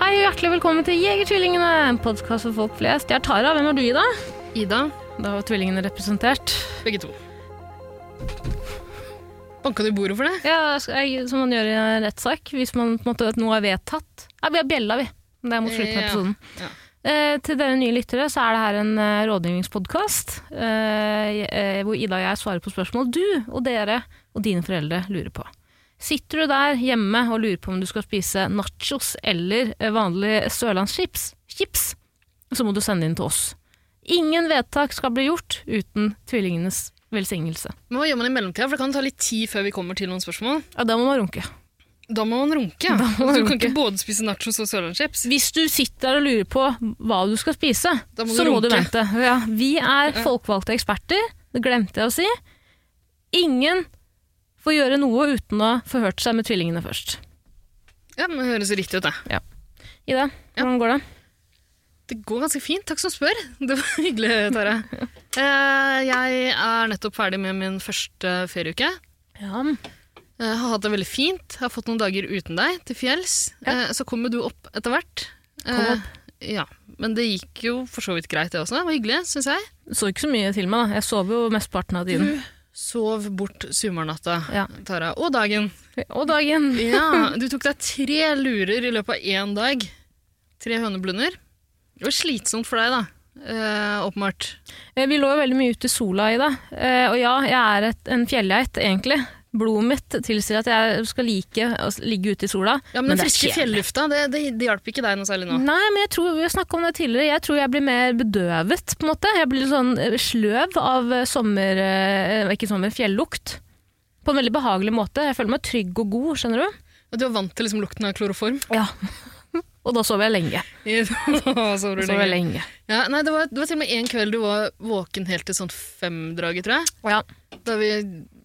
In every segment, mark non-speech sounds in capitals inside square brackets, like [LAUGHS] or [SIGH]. Hei og hjertelig velkommen til Jegertvillingene, en podkast for folk flest. Jeg er Tara, hvem er du, Ida? Ida, Da var tvillingene representert. begge to. Banka du i bordet for det? Ja, skal jeg, Som man gjør i en rettssak, hvis man på en måte vet noe er vedtatt. Ja, vi har bjella, vi. Det er mot slutten av Ja, episoden. ja. Eh, til dere nye lyttere så er det her en eh, rådgivningspodkast eh, eh, hvor Ida og jeg svarer på spørsmål du og dere og dine foreldre lurer på. Sitter du der hjemme og lurer på om du skal spise nachos eller eh, vanlig sørlandschips, chips, så må du sende inn til oss. Ingen vedtak skal bli gjort uten tvillingenes velsignelse. Men hva gjør man i mellomtida? For det kan ta litt tid før vi kommer til noen spørsmål. Ja, da må man runke. Da må man runke. ja. Da må man du kan runke. ikke både spise nachos og sørlandschips. Hvis du sitter der og lurer på hva du skal spise, Da må så du må du runke. vente. Ja, vi er folkevalgte eksperter, det glemte jeg å si. Ingen får gjøre noe uten å få hørt seg med tvillingene først. Ja, men det høres riktig ut, det. Ida, Ja. hvordan går det? Det går ganske fint, takk som spør. [LAUGHS] Det var hyggelig, Tara. Eh, Jeg er nettopp ferdig med min første ferieuke. Ja. Jeg har hatt det veldig fint. Jeg har fått noen dager uten deg til fjells. Ja. Eh, Så kommer du opp etter hvert. Kom Eh, Ja, Men det gikk jo for så vidt greit, det også. Det var hyggelig, syns jeg. Så ikke så mye til meg, da. Jeg sov jo mesteparten av tiden. Du sov bort sommernatta, Ja. Tara. Og dagen. Og dagen. Ja, [LAUGHS] du tok deg tre lurer i løpet av én dag. Tre høneblunder. Det var slitsomt for deg, da. Eh, åpenbart. Eh, Vi lå jo veldig mye ute i sola, Ida. Eh, Og ja, jeg er et, en fjellgeit, egentlig. Blodet mitt tilsier at jeg skal like å s- ligge ute i sola. Ja, Men, den det er Mm. friske kjedelig. fjellufta, det, det, det hjalp ikke deg noe særlig nå. Nei, men jeg tror, vi har snakket om det tidligere, jeg tror jeg blir mer bedøvet, på en måte. Jeg blir litt sånn eh, sløv av eh, sommer, eh, ikke sommer, fjellukt. På en veldig behagelig måte. Jeg føler meg trygg og god, skjønner du? Og Du var vant til liksom, lukten av kloroform. Ja. og da sover jeg lenge. [LAUGHS] så Da du sover jeg lenge. lenge. Ja, nei, det, var, det var til og med en kveld du var våken helt til sånn femdraget, tror jeg. Ja. Da vi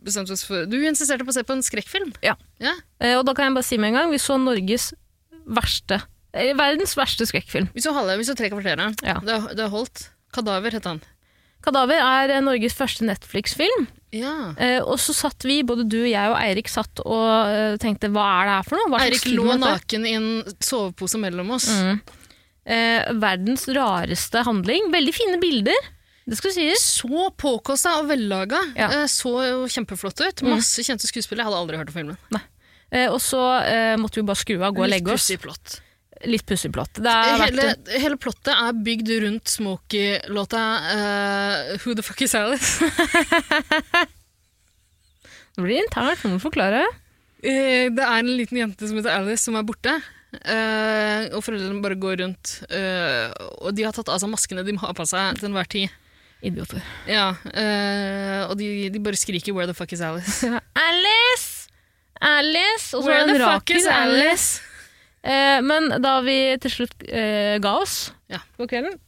bestemte oss for Du insisterte på å se på en skrekkfilm. Ja. ja. Eh, Og da kan jeg bare si med en gang, vi så Norges verste, eh, verdens verste skrekkfilm. Vi så halve, vi så tre kvarter her. Ja. Det, det holdt. Kadaver het han. Kadaver er eh, Norges første Netflix-film, Ja. Eh, og så satt vi, både du, jeg og Eirik satt og eh, tenkte, hva er det her for noe? Hva slags Eirik film lå er dette? naken i en sovepose mellom oss. Mm. Eh, verdens rareste handling. Veldig fine bilder, det skal sies. Så påkosta og vellaga. Ja. Mm. Eh, Så jo kjempeflott ut. Masse kjente skuespillere. Jeg hadde aldri hørt om filmen. Eh, og så eh, måtte vi bare skru av, gå og legge oss. pussig plott. Litt pussig plott. Det er Hele, verdt det. hele plottet er bygd rundt Smokey-låta eh, Who the fuck is Alice? [LAUGHS] Det blir internt, noen forklare. Eh, det er en liten jente som heter Alice, som er borte. Eh, og foreldrene bare går rundt. eh, og de har tatt av seg maskene de har på seg til enhver tid. Idioter. Ja, eh, og de, de bare skriker 'Where the fuck is Alice?' [LAUGHS] Alice! Alice! Og så er det en raker Alice. Eh, men da vi til slutt eh, ga oss Ja. for kvelden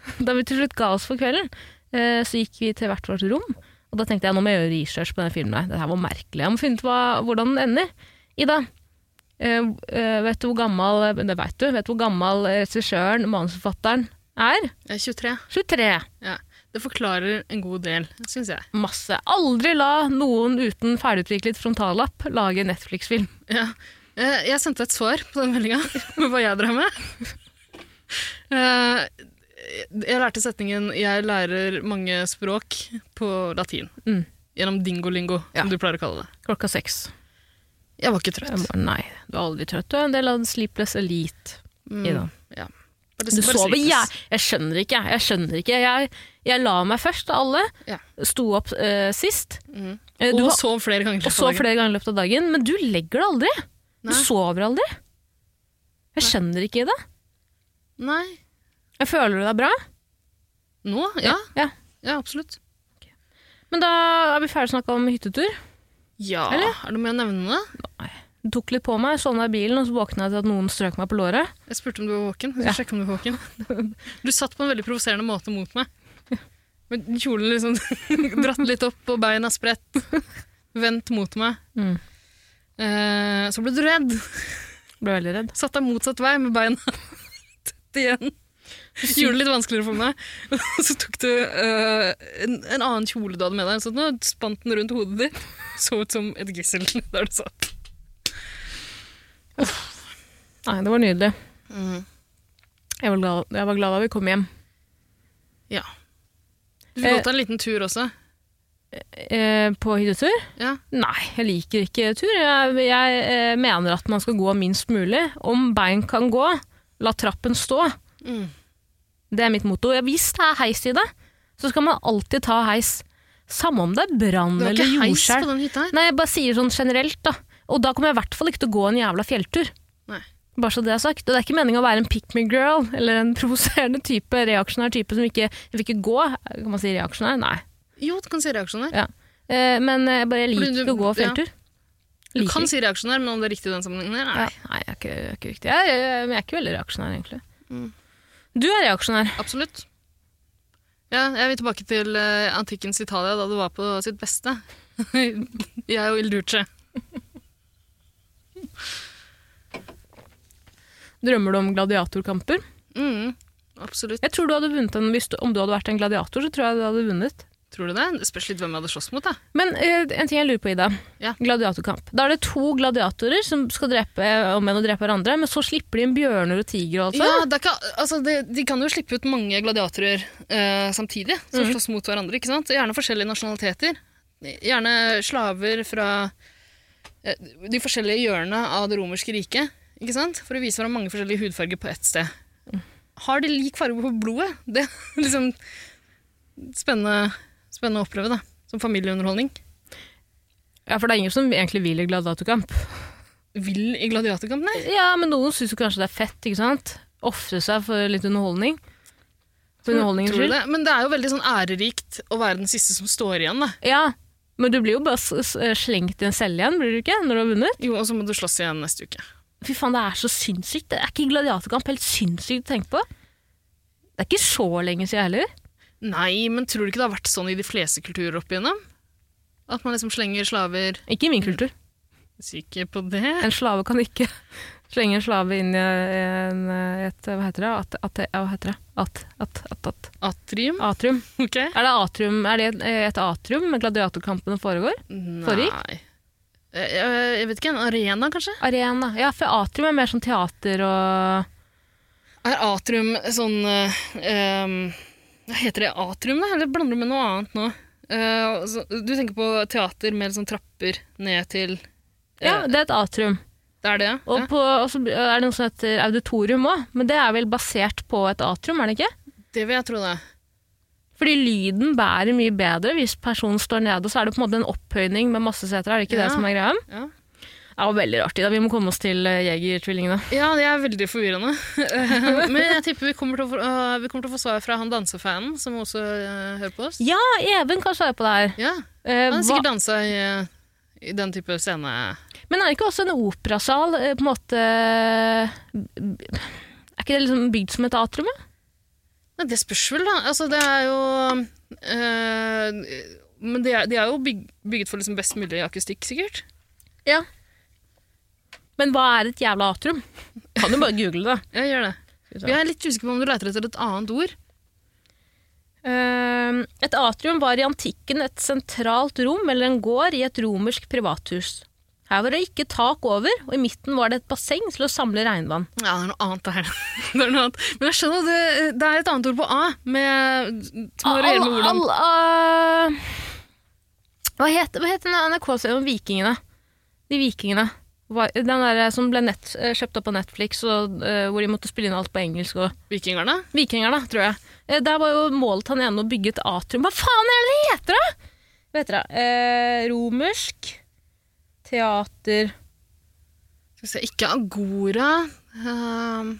[LAUGHS] Da vi til slutt ga oss for kvelden, eh, så gikk vi til hvert vårt rom. Og da tenkte jeg nå må jeg gjøre research på denne filmen. her. Dette her var merkelig. Jeg må finne ut hva, hvordan den ender. Ida, eh, eh, vet du hvor gammel eh, Det vet du. Vet du hvor gammel regissøren, manusforfatteren, er? Jeg er 23. 23. Eh, Ja. Det forklarer en god del, syns jeg. Masse. Aldri la noen uten ferdigutviklet frontallapp lage en Netflix-film. Ja. Eh, Jeg sendte et svar [LAUGHS] på den meldinga med hva jeg drev med. Eh, Jeg lærte setningen 'Jeg lærer mange språk' på latin. Mm. Gjennom dingolingo, Ja. som du pleier å kalle det. Klokka seks. Jeg var ikke Jeg trøtt. bare, Nei, du er aldri trøtt. Du er en del av Sleepless Elite. Mm, Ida. Ja. Du sover ja. jeg, jeg skjønner ikke, jeg. jeg skjønner ikke. Jeg, jeg la meg først av alle, Ja. sto opp eh, sist. Mm. Eh, du Og har- sov flere ganger. og så flere ganger i løpet av dagen, men du legger deg aldri. Du Nei. sover aldri. Jeg skjønner ikke det. Nei. Jeg føler du deg bra, Nå? Ja. Ja. ja absolutt. men da er vi ferdig å snakke om hyttetur. Ja. Eller? Er det mer å nevne? Nei. Tok litt på meg, sovna i bilen, og så våkna jeg til at noen strøk meg på låret. Jeg spurte om du var våken. Jeg skulle sjekke om Du var våken. [LAUGHS] Du satt på en veldig provoserende måte mot [LAUGHS] meg. Med kjolen liksom [LAUGHS] dratt litt opp, og beina spredt. Vendt mot meg. Mm. Eh, så ble du redd. Ble veldig redd. Satt deg motsatt vei med beina [LAUGHS] tett igjen. Gjorde det litt vanskeligere for meg. [LAUGHS] Og så tok du eh, en, en annen kjole du hadde med deg, sånn, og spant den rundt hodet ditt. Så ut som et gissel [LAUGHS] der du satt. Nei, det var nydelig. Mm. Jeg var glad, jeg var glad da vi kom hjem. Ja. Du fikk Eh, gått deg en liten tur også. Eh, på hyttetur? Ja. Nei, jeg liker ikke tur. Jeg, jeg eh, mener at man skal gå minst mulig. Om bein kan gå, la trappen stå. Mm. Det er mitt motto. Ja, Hvis det er heis i det, så skal man alltid ta heis. Samme om det er brann Det var eller ikke heis på jordskjelv. den hytta her. Nei, jeg bare sier sånn generelt, da. Og da kommer jeg i hvert fall ikke til å gå en jævla fjelltur. Nei. Bare så det er sagt. Og det er ikke meninga å være en pick me girl eller en provoserende type, reaksjonær type som ikke vil ikke gå. Kan man si reaksjonær? Nei. Jo, du kan si reaksjonær. Eh, men jeg bare jeg Fordi liker du- ikke å gå ja. fjelltur. Du Liker kan ikke. si reaksjonær, men om det er riktig i den sammenhengen her, Nei, nei. nei, jeg er ikke, jeg er ikke riktig. Jeg er, men jeg er ikke veldig reaksjonær, egentlig. Mm. Du er reaksjonær. Absolutt. Ja, jeg vil tilbake til eh, antikkens Italia, da det var på sitt beste. [LAUGHS] jeg og Il Duce. Drømmer du om gladiatorkamper? Mm, absolutt. Jeg tror du hadde vunnet en, hvis du, Om du hadde vært en gladiator, så tror jeg du hadde vunnet. Tror du det? Det spørs litt hvem jeg hadde slåss mot, da. Men eh, en ting jeg lurer på, Ida. Ja. Gladiatorkamp. Da er det to gladiatorer som skal drepe om enn å drepe hverandre, men så slipper de inn bjørner og tigre og alt sånt. Ja, det er ikke, altså det, de kan jo slippe ut mange gladiatorer eh, samtidig, som Mhm. slåss mot hverandre. ikke sant? Gjerne forskjellige nasjonaliteter. Gjerne slaver fra eh, de forskjellige hjørnene av det romerske riket. ikke sant? For å vise hverandre mange forskjellige hudfarger på ett sted. Har de lik farge på blodet? [LAUGHS] Det er liksom spennende, spennende å oppleve, da. Som familieunderholdning. Ja, for det er ingen som egentlig vil i gladiatorkamp. Vill i gladiatorkamp, nei? Ja, men noen syns jo kanskje det er fett, ikke sant? Ofre seg for litt underholdning. For underholdningens Tror du skyld. det? Men det er jo veldig sånn ærerikt å være den siste som står igjen, da. Ja, men du blir jo bare s- s- slengt i en celle igjen, blir du ikke? Når du har vunnet. Jo, og så må du slåss igjen neste uke. Fy faen, det er så sinnssykt. Det er ikke gladiatorkamp helt sinnssykt å tenke på. Det er ikke så lenge siden heller. Nei, men tror du ikke det har vært sånn i de fleste kulturer opp igjennom? At man liksom slenger slaver Ikke i min kultur. Sikker på det? En slave kan ikke [LAUGHS] slenge en slave inn i en, et Hva heter det? At, at, ja, hva heter det? At, at, at, at. Atrium? Atrium. Ok. Er det, atrium, er det et, et atrium gladiatorkampene foregår? Foregikk? Nei. Eh, eh, Jeg vet ikke, en arena kanskje? Arena. Ja, for atrium er mer sånn teater og Er atrium sånn eh, em, Hva heter det? Atrium, da? Eller blander du med noe annet nå? Eh, så- du tenker på teater med sånn trapper ned til Ja, eh, det er et atrium. Det er det, ja? Og, på, og så er det noe som heter auditorium òg, men det er vel basert på et atrium, er det ikke? Det vil jeg tro, det. Fordi lyden bærer mye bedre hvis personen står nede, og så er det på en måte en opphøyning med masse seter. Er det ikke Ja. det som er greia? Ja. Det var veldig rart, Ida. Vi må komme oss til eh, Jegertvillingene. Ja, det er veldig forvirrende. Eh, [LAUGHS] Men [LAUGHS] jeg tipper vi kommer til å få, eh, vi kommer til å få svar fra han dansefanen som også eh, hører på oss. Ja, Even kan svare på det her. Ja, Eh, Han har hva- sikkert dansa i, eh, i den type scene. Men er det ikke også en operasal eh, på en måte Er ikke det liksom bygd som et atrium? ja? Men det spørs vel, da. Altså, det er jo eh, Men de er, de er jo byg, bygget for liksom best mulig akustikk, sikkert. Men hva er et jævla atrium? Kan du bare google det. Ja, gjør det. Skal vi se. Jeg er litt usikker på om du leter etter et annet ord. Eh, et atrium var i antikken et sentralt rom eller en gård i et romersk privathus. Her var det ikke tak over, og i midten var det et basseng til å samle regnvann. Ja, det er noe annet der. [LAUGHS] det er noe annet. Men jeg skjønner, det, det er et annet ord på A, med, som All, har å gjøre med hvordan all, eh, hva heter, hva heter den NRK-serien om vikingene? De vikingene. Hva- Den der som ble nett, eh, kjøpt opp på Netflix, og, eh, hvor de måtte spille inn alt på engelsk. Og. Vikingerne Vikingerne, tror jeg. Eh, der var jo målet han ene å bygge et atrium. Hva faen er det det heter, da?! Hva heter det? Eh, romersk teater Skal vi se, ikke Agora. Ehm,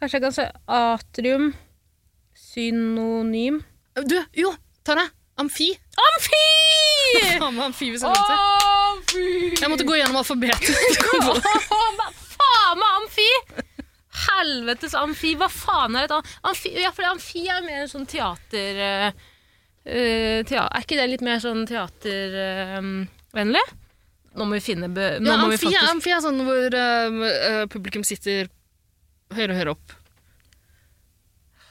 Kanskje jeg kan si atrium synonym du, jo, Tara. Amfi. [LAUGHS] Amfi! Faen meg amfi hvis jeg glemte. Amfi! Jeg måtte gå gjennom alfabetet. [LAUGHS] Hva faen med amfi?! Helvetes amfi, hva faen er et am- amfi? Ja, for amfi er jo mer en sånn teater... eh, eh, tea- er ikke det litt mer sånn teatervennlig? nå må vi finne be, nå Ja, må vi amfi, faktisk- amfi er sånn hvor eh, eh, publikum sitter høyere og høyere opp.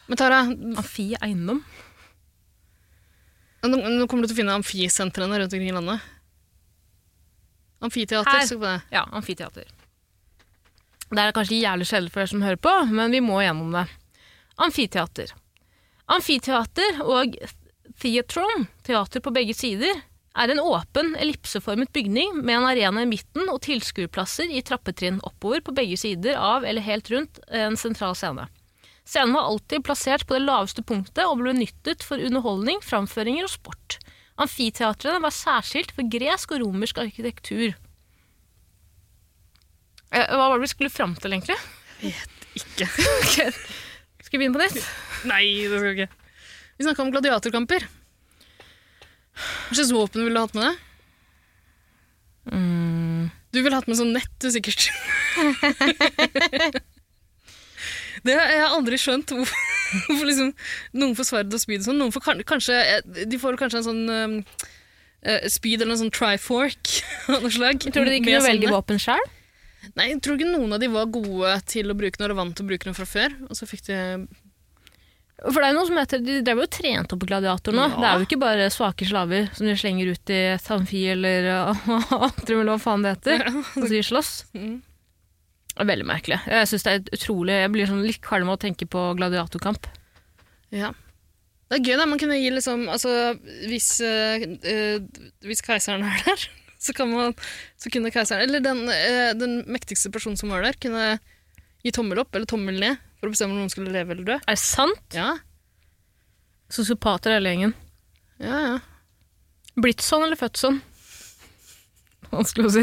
Men Tara, nå, Amfi eiendom? nå kommer du til å finne amfisentrene rundt omkring i landet. Amfiteater, Her. søk på det. Ja, amfiteater. Det er kanskje jævlig sjelden for dere som hører på, men vi må gjennom det. Amfiteater. Amfiteater og theatron, teater på begge sider, er en åpen, ellipseformet bygning med en arena i midten og tilskuerplasser i trappetrinn oppover på begge sider av eller helt rundt en sentral scene. Scenen var alltid plassert på det laveste punktet og ble benyttet for underholdning, framføringer og sport. Amfiteatrene var særskilt for gresk og romersk arkitektur. Eh, Hva var det vi skulle fram til, egentlig? Ikke. Skal vi begynne på nytt? Nei, det skal vi ikke. Vi snakka om gladiatorkamper. Hva slags våpen ville du hatt med deg? Mm. Du ville hatt med sånn nett, du sikkert. [LAUGHS] det har jeg aldri skjønt. Hvorfor, [LAUGHS] hvorfor liksom, noen får sverd og spyd og sånn. Noen får kan- kanskje, eh, de får kanskje en sånn um, eh, spyd eller en sånn trifork [LAUGHS] av noe slag. Tror du de med kunne velge sånne. våpen sjøl? Nei, jeg tror ikke noen av de var gode til å bruke når de vant til å bruke noe fra før. Og så fikk de For det er jo noe som heter, De drev jo og trente opp gladiatorene. Ja. Det er jo ikke bare svake slaver som de slenger ut i et amfi eller [LAUGHS] uh, atrium, eller hva faen det heter, og så de slåss. Mm. Det er veldig merkelig. Jeg synes det er utrolig, jeg blir sånn litt kvalm av å tenke på gladiatorkamp. Ja. Det er gøy, da. Man kunne gi liksom Altså, hvis, eh, eh, hvis keiseren er der, [LAUGHS] så, kan man, så kunne keiseren Eller den, eh, den mektigste personen som var der, kunne gi tommel opp eller tommel ned for å bestemme om noen skulle leve eller dø. Er det sant? Ja, Sosiopater hele gjengen. ja, ja. Blitt sånn eller født sånn? Vanskelig å si.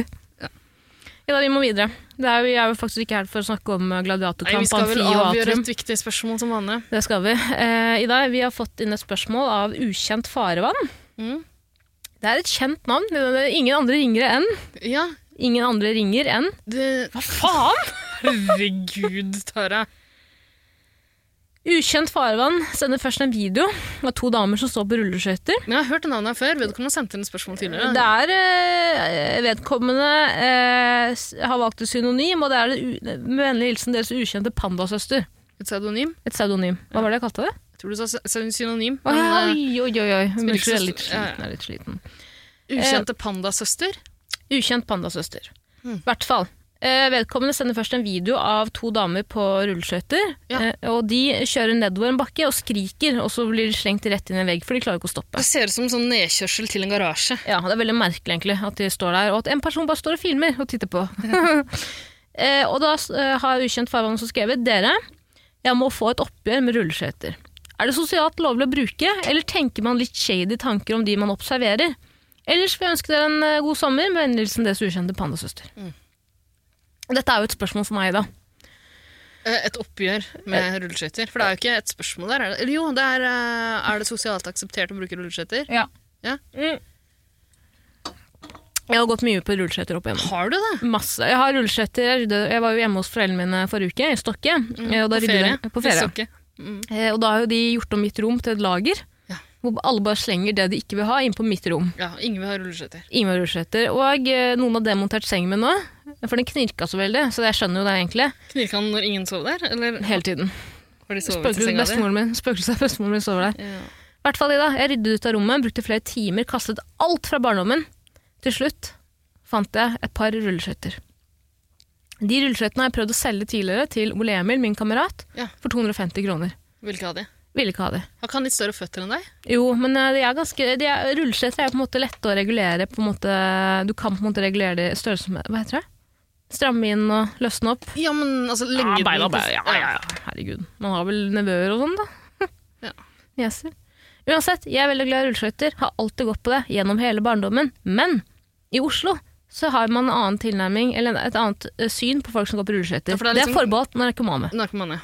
Ja da, Vi må videre. Det er, jo- jeg er jo faktisk ikke her for å snakke om uh, Nei, vi gladiatorkamp, skal vel amfi og avgjøre atrium. et viktig spørsmål som vanlig. Det skal vi. Eh, Ida, vi har fått inn et spørsmål av ukjent farevann. Mm. Det er et kjent navn. Det er Ingen andre ringer enn Ja, Ingen andre ringer enn det Hva faen?! Herregud, Tara. Ukjent farevann sender først en video av to damer som står på rulleskøyter. Men jeg har hørt det navnet her før. Vedkommende sendte inn et spørsmål tidligere. Det er eh, vedkommende eh, s- har valgt et synonym, og det er det u- med vennlig hilsen deres ukjente pandasøster. Et pseudonym. Et pseudonym. Hva var det jeg kalte det? Jeg tror du sa sy- synonym. Oi, Men, eh, oi, oi. oi. Hun Spiller ikke er så- litt ja, ja. sliten. Er litt sliten. ukjente pandasøster. Ukjent pandasøster. I hvert fall. Eh, vedkommende sender først en video av to damer på rulleskøyter. Ja. Eh, og de kjører nedover en bakke og skriker, og så blir de slengt rett inn i en vegg, for de klarer ikke å stoppe. Det ser ut som en sånn nedkjørsel til en garasje. Ja, Det er veldig merkelig egentlig at de står der, og at en person bare står og filmer og [LAUGHS] titter på. eh, og da eh, har ukjent farvann også skrevet Dere, jeg må få et oppgjør med rulleskøyter. Er det sosialt lovlig å bruke, eller tenker man litt shady tanker om de man observerer? Ellers vil jeg ønske dere en eh, god sommer med vennlig hilsen deres ukjente pandasøster. Dette er jo et spørsmål for meg, da. Eh, Et oppgjør Eh, med rulleskøyter. For det er jo ikke et spørsmål der. er det? Eller jo, det er, eh, er det sosialt akseptert å bruke rulleskøyter? Ja. Ja. Mm. Jeg har gått mye på rulleskøyter opp igjennom. [LAUGHS] Har du det? Masse. Jeg har rulleskøyter. Jeg rydde- Jeg var jo hjemme hos foreldrene mine forrige uke, i Stokke. eh, og da rydde- På Jeg ferie. så ikke. Mm. Eh, Og da har jo de gjort om mitt rom til et lager, Ja. hvor alle bare slenger det de ikke vil ha, inn på mitt rom. Ja, ingen vil ha rulleskøyter. Ingen med rulleskøyter. Og eh, noen har demontert sengen min nå, for den knirka så veldig, så jeg skjønner jo det egentlig. Knirka han når ingen sov der? Eller Hele tiden. har de sovet i Spøkelset senga di? bestemoren min, spøkelset bestemoren min sover der. Ja. I hvert fall Ida, jeg ryddet ut av rommet, brukte flere timer, kastet alt fra barndommen. Til slutt fant jeg et par rulleskøyter. De rulleskøytene har jeg prøvd å selge tidligere til Ole Emil, min kamerat, Ja. for 250 kroner. Hvilke av de? Ville ikke ha de. Har ikke han litt større føtter enn deg? Jo, men eh, de er ganske, de er, rulleskøyter er på en måte lette å regulere. På en måte, du kan på en måte regulere de størrelsen med Hva heter det? Stramme inn og løsne opp. Ja, men altså lengden på- Herregud. Man har vel nevøer og sånn, da. [LAUGHS] Ja. Nieser. Uansett, jeg er veldig glad i rulleskøyter, har alltid gått på det gjennom hele barndommen. Men i Oslo så har man en annen tilnærming, eller et annet eh, syn på folk som går på rulleskøyter. Ja, for det er det, liksom- er forbeholdt narkomane. Narkomane.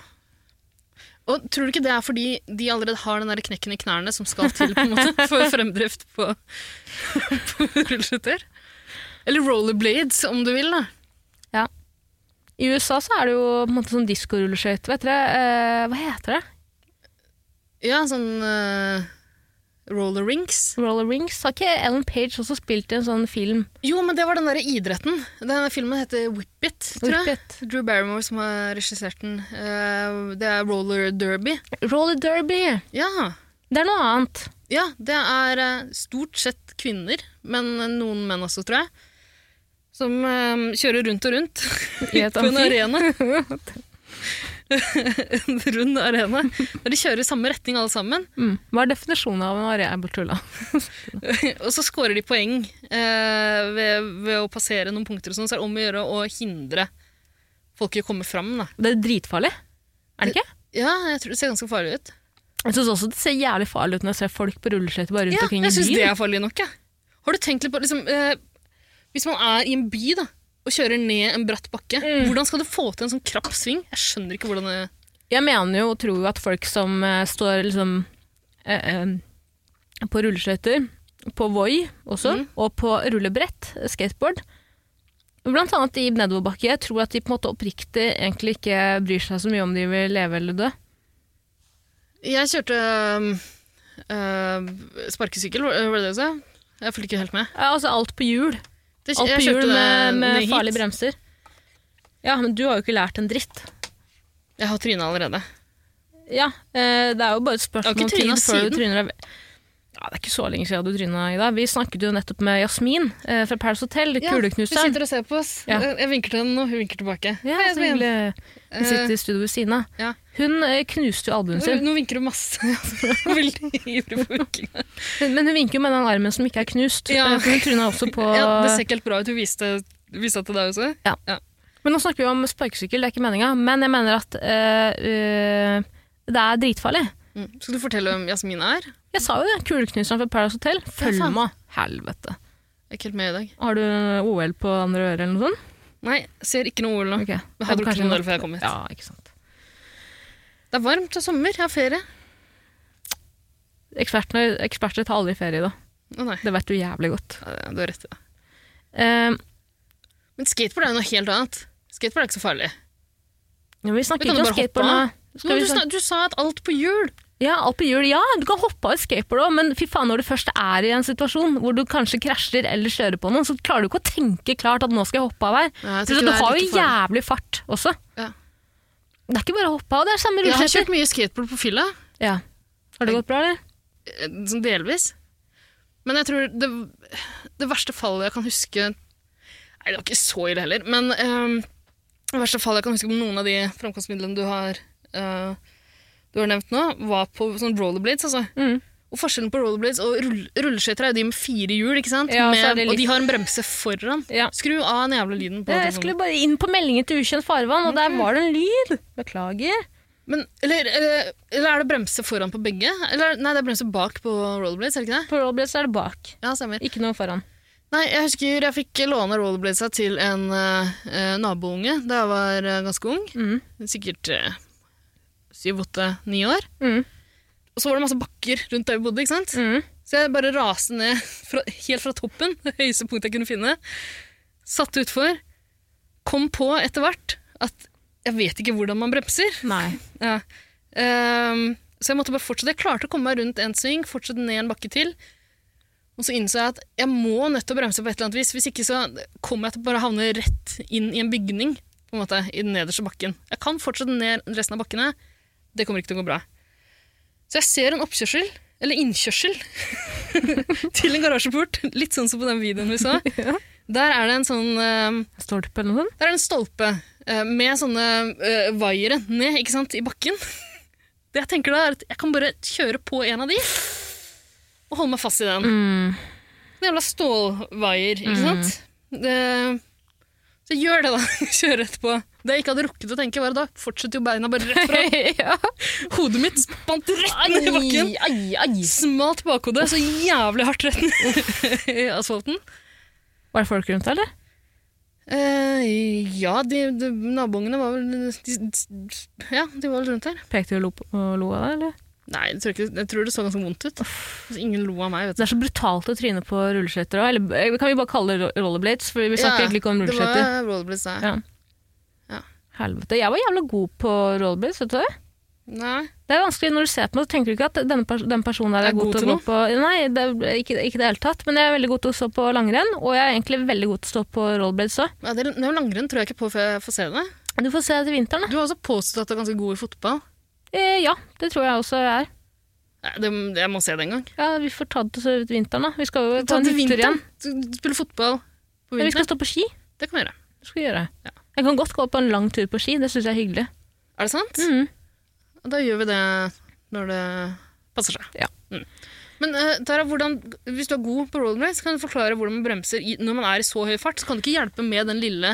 Og tror du ikke det er fordi de allerede har den der knekken i knærne [LAUGHS] som skal til på en måte for fremdrift på, på rulleskøyter? Eller rollerblades, om du vil. da. I USA så er det jo på en måte sånn diskorulleskøyter, vet dere. Eh, hva heter det? Ja, sånn eh, roller rinks. Roller rings? Har ikke Ellen Page også spilt i en sånn film? Jo, men det var den derre idretten. Denne filmen heter Whip It, tror jeg. Whippet. Drew Barrymore som har regissert den. Eh, det er roller derby. Roller derby! Ja, Det er noe annet. ja det er eh, stort sett kvinner, men noen menn også, tror jeg. Som eh, kjører rundt og rundt I et på en amfi. arena. [LAUGHS] en rund arena. Når de kjører i samme retning alle sammen. Mm. Hva er definisjonen av en arena? Jeg bare tulla. Og så scorer de poeng eh, ved, ved å passere noen punkter og sånn. Så er det om å gjøre å hindre folk i å komme fram, da. Det er dritfarlig. Er det ikke? Ja, jeg tror det ser ganske farlig ut. Jeg syns også det ser jævlig farlig ut når jeg ser folk på rulleskøyter bare rundt Ja, omkring i jeg syns byen. det er farlig nok, jeg. Har du tenkt litt på liksom, eh, Hvis man er i en by da, og kjører ned en bratt bakke, Mm. hvordan skal du få til en sånn krapp sving? Jeg skjønner ikke hvordan det Jeg mener jo og tror jo at folk som eh, står liksom eh, eh, på rulleskøyter, på Voi også, Mm. og på rullebrett, skateboard Blant annet i nedoverbakke. Jeg tror at de på en måte oppriktig egentlig ikke bryr seg så mye om de vil leve eller dø. Jeg kjørte eh, sparkesykkel, var var det det du sa? Jeg fulgte ikke helt med. Ja, altså alt på hjul. Det, Alt på jeg kjørte hjul det med, ned med hit. farlige bremser. Ja, men du har jo ikke lært en dritt. Jeg har tryna allerede. Ja, eh, det er jo bare et Jeg har spørsmål ikke om trynet tid før siden. du tryner deg. Ja, det er ikke så lenge siden du tryna i dag. Vi snakket jo nettopp med Jasmin eh, fra Paris Hotel, Hun kuleknuseren. sitter og ser på oss. Ja. Jeg vinker til henne nå, hun vinker tilbake. Ja, Hei, så Svein. hyggelig. Hun sitter Eh, i studio ved siden av. ja. Hun eh, knuste jo albuen sin, Nå vinker du masse. [LAUGHS] Altså, Veldig ivrig på vinkinga. men men hun vinker jo med den armen som ikke er knust. Ja. eh, for Hun tryna også på Ja, det ser ikke helt bra ut. Hun viste, viste det til deg også. Men nå snakker vi om sparkesykkel, det er ikke meninga. Men jeg mener at eh, eh, det er dritfarlig. Mm. Skal du fortelle hvem Jasmin er? Jeg Jeg sa jo det. Kuleknuseren fra Paradise Hotel. Følg faen. med. Helvete. er ikke helt med i dag. Har du OL på andre øret eller noe sånt? Nei, ser ikke noe OL nå. Ok. Jeg hadde Kanskje gjort noe nok- før jeg kom hit. Ja, ikke sant. Det er varmt, det er sommer, jeg har ferie. Ekspertene, eksperter tar aldri ferie, da. Å nei, Det vet du jævlig godt. ja, det- du har rett i det. Eh, Men skateboard er jo noe helt annet. Skateboard er ikke så farlig. men vi Vi snakker kan ikke jo om bare hoppe skateboard nå. av. Skal Men vi du, snakke- snak- du sa at alt på hjul. Ja, alt på hjul. Ja, du kan hoppe av et skateboard òg, men fy faen, når du først er i en situasjon hvor du kanskje krasjer eller kjører på noen, så klarer du ikke å tenke klart at nå skal jeg hoppe av her. Så Nei, jeg tror ikke du det er har jo like farlig. jævlig fart også. Ja. Det er ikke bare å hoppe av, det er samme Jeg har rulleskøyter. kjørt mye skateboard på fylla, Ja. Har det gått bra, eller? eh, sånn delvis. Men jeg tror det, det verste fallet jeg kan huske Nei, det var ikke så ille heller, men eh, det verste fallet jeg kan huske på noen av de framkomstmidlene du har, eh, du har nevnt nå, var på sånn rollerblades, altså. Mm. Og forskjellen på rollerblades og rull rulleskøyter er jo de med fire hjul, ikke sant? Ja, og så er med, det og de litt- har en bremse foran. Ja. Skru av den jævla lyden på Jeg telefonen. skulle bare inn på meldingen til ukjent farvann, og der var det en lyd. Beklager. Men, eller, eller, eller er det bremse foran på begge? Eller, nei, det er bremse bak på rollerblades, er det ikke det? På Robles er det bak, Ja, stemmer. ikke noe foran. Nei, jeg husker jeg fikk låne rollerbladesa til en eh, nabounge da jeg var eh, ganske ung. Mm. Sikkert eh, syv, åtte, ni år. Mm. Og så var det masse bakker rundt der vi bodde, ikke sant? Mm. Så jeg bare raste ned fra, helt fra toppen, [LAUGHS] det høyeste punktet jeg kunne finne. Satte utfor. Kom på etter hvert at jeg vet ikke hvordan man bremser. [LAUGHS] Nei. Ja. Ehm, så jeg måtte bare fortsette. Jeg klarte å komme meg rundt en sving, fortsette ned en bakke til. Og så innså jeg at jeg må nødt til å bremse på et eller annet vis. Hvis ikke så kommer jeg til å bare havne rett inn i en bygning, på en måte, i den nederste bakken. Jeg kan fortsette ned resten av bakkene. Det kommer ikke til å gå bra. Så jeg ser en oppkjørsel, eller innkjørsel, [LAUGHS] til en garasjeport. Litt sånn som på den videoen vi så. Der er det en sånn ehm, Stolpe eller noe sånt? der er det en stolpe eh, med sånne eh, vaiere ned ikke sant, i bakken. [LAUGHS] Det jeg tenker da, er at jeg kan bare kjøre på en av de og holde meg fast i den. Mm. [LAUGHS] En jævla stålvaier, ikke Mm. sant? Det, så jeg gjør det, da. [LAUGHS] Kjører etterpå. Det jeg ikke hadde rukket å tenke, var at da fortsetter jo beina bare [LAUGHS] rett fra. ja. Hodet mitt spant rett ned i bakken. Ai, ai, ai. Smalt bakhodet så jævlig hardt rett ned [LAUGHS] i asfalten. Var det folk rundt der, eller? Eh, ja, de, de, naboungene var vel de, de, Ja, de var vel rundt her. Pekte du og lo, på- og lo av deg, eller? Nei, jeg tror, ikke, jeg tror det så ganske vondt ut. Altså, ingen lo av meg, vet du. Det er så brutalt å tryne på rulleskøyter òg. Eller eh, kan vi bare kalle det ro- rollerblades? For vi snakker Ja, egentlig ikke om Det rulleskøyter. var rollerblades, nei. Ja. Helvete. Jeg var jævla god på rollerblades, vet du det? Nei. Det er vanskelig når du ser på meg, så tenker du ikke at denne pers den personen der er, god til å gå noe? på Nei, det er ikke, ikke det hele tatt. Men jeg er veldig god til å stå på langrenn, og jeg er egentlig veldig god til å stå på rollerblades òg. Ja, det, det er jo langrenn tror jeg ikke på før jeg får se det. Du får se til vinteren, da. Du har også påstått at du er ganske god i fotball. Eh, ja, det tror jeg også jeg er. Nei, det, jeg må se det en gang. Ja, Vi får ta det til vinteren, da. Vi skal jo Ta på en til hyttetur igjen. vinteren. Du spiller fotball på Ja, vi vinteren. skal stå på ski. Det kan vi gjøre. Det skal vi gjøre. Ja. Jeg kan godt gå på en lang tur på ski, det syns jeg er hyggelig. Er det sant? Mhm. Da gjør vi det når det passer seg. Ja. Mm. Men eh, Tara, hvordan, hvis du er god på rollerblades, kan du forklare hvordan man bremser i, når man er i så høy fart. Så kan du ikke hjelpe med den lille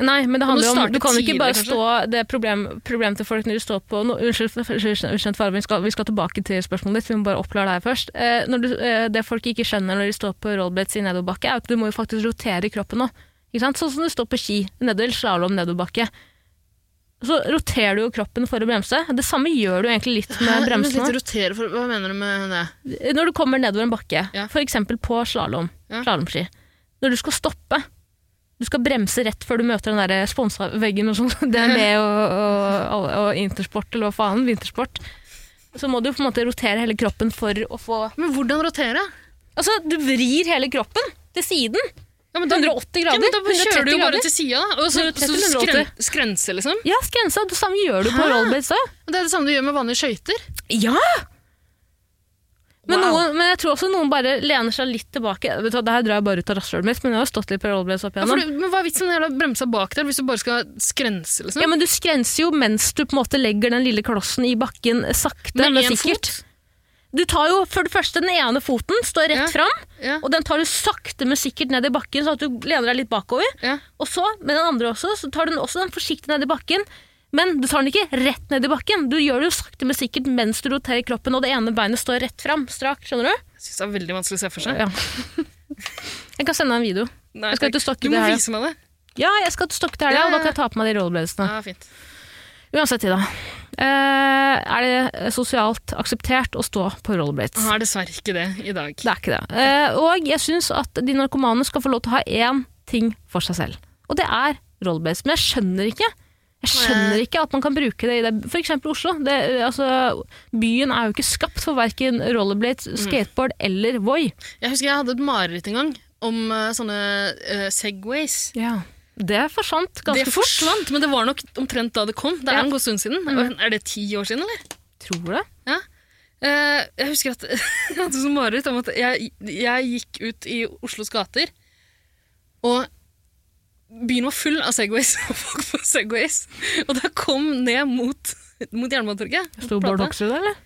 Nei, men det handler jo Kan du om Du starte kan jo ikke bare tidligere, stå Det er problem, problem til folk når du står på no, Unnskyld, unnskyld, [LAUGHS] unnskyld Farve, vi, skal- vi skal tilbake til spørsmålet ditt. Vi må bare oppklare deg først. Eh, når du, eh, det folk ikke skjønner når de står på rollerblades i nedoverbakke, er at du må jo faktisk rotere kroppen nå. Ikke sant? Sånn som du står på ski nedover slalåm nedoverbakke. Så roterer du jo kroppen for å bremse. Det samme gjør du egentlig [LAUGHS] litt med Hæ? bremsene. Litt rotere for, hva mener du med det? Når du kommer nedover en bakke, Ja. for f.eks. på slalåm, Ja. slalåmski, når du skal stoppe Du skal bremse rett før du møter den der sponsa veggen og sånn, [LAUGHS] DNB og, og, og Intersport eller hva faen, vintersport. Så må du på en måte rotere hele kroppen for å få Men hvordan rotere? Altså, du vrir hele kroppen til siden! Ja, men da- 180 Ja, grader. men da kjører du 130 jo bare grader. til sida, og så, så 130, skren, 180. skrense, liksom. Ja, skrensa. Det samme gjør du på Hæ? rollerblades òg. Og det er det samme du gjør med vanlige skøyter. Ja! Men, Wow. noen, men jeg tror også noen bare lener seg litt tilbake. Vet du, hva, det her drar jeg bare ut av rasshølet mitt, men jeg har stått litt på rollerblades opp Ja, for igjennom. du, men hva er vitsen med den jævla bremsa bak der, hvis du bare skal skrense, liksom? Ja, men du skrenser jo mens du på en måte legger den lille klossen i bakken sakte, men, én sikkert. fot? Du tar jo for det første den ene foten, står rett Ja. fram, Ja, og den tar du sakte, men sikkert ned i bakken, sånn at du lener deg litt bakover. ja. Og så, med den andre også, så tar du den også den forsiktig ned i bakken, men du tar den ikke rett ned i bakken. Du gjør det jo sakte, men sikkert mens du roterer kroppen, og det ene beinet står rett fram, strakt, skjønner du? Jeg syns det er veldig vanskelig å se for seg. Ja. Jeg kan sende deg en video. Nei, Jeg skal takk. ut og stokke du må det her. vise meg det. Ja, jeg skal til Stokke til helga, Ja, ja, og da kan ja. jeg ta på meg de rollerbladesene. Ja, fint. Uansett, Ida. Eh, er det sosialt akseptert å stå på rollerblades? Han er dessverre ikke det i dag. Det er ikke det. Eh, og jeg syns at de narkomane skal få lov til å ha én ting for seg selv. Og det er rollerblades. Men jeg skjønner ikke Jeg skjønner ikke at man kan bruke det i det. For eksempel Oslo. Det, altså, byen er jo ikke skapt for verken rollerblades, skateboard eller Voi. Jeg husker jeg hadde et mareritt en gang om eh, sånne eh, Segways. Det forsvant ganske Det fort. forsvant, men det var nok omtrent da det kom. Det Ja. er en god stund siden. Er det ti år siden, eller? Tror du det? Eh, jeg husker at [LAUGHS] jeg hadde sånn mareritt om at jeg, jeg gikk ut i Oslos gater, og byen var full av Segways [LAUGHS] og folk på Segways. Og da kom ned mot, mot Jernbanetorget. Sto Bård Plata. Hoksrud der, eller?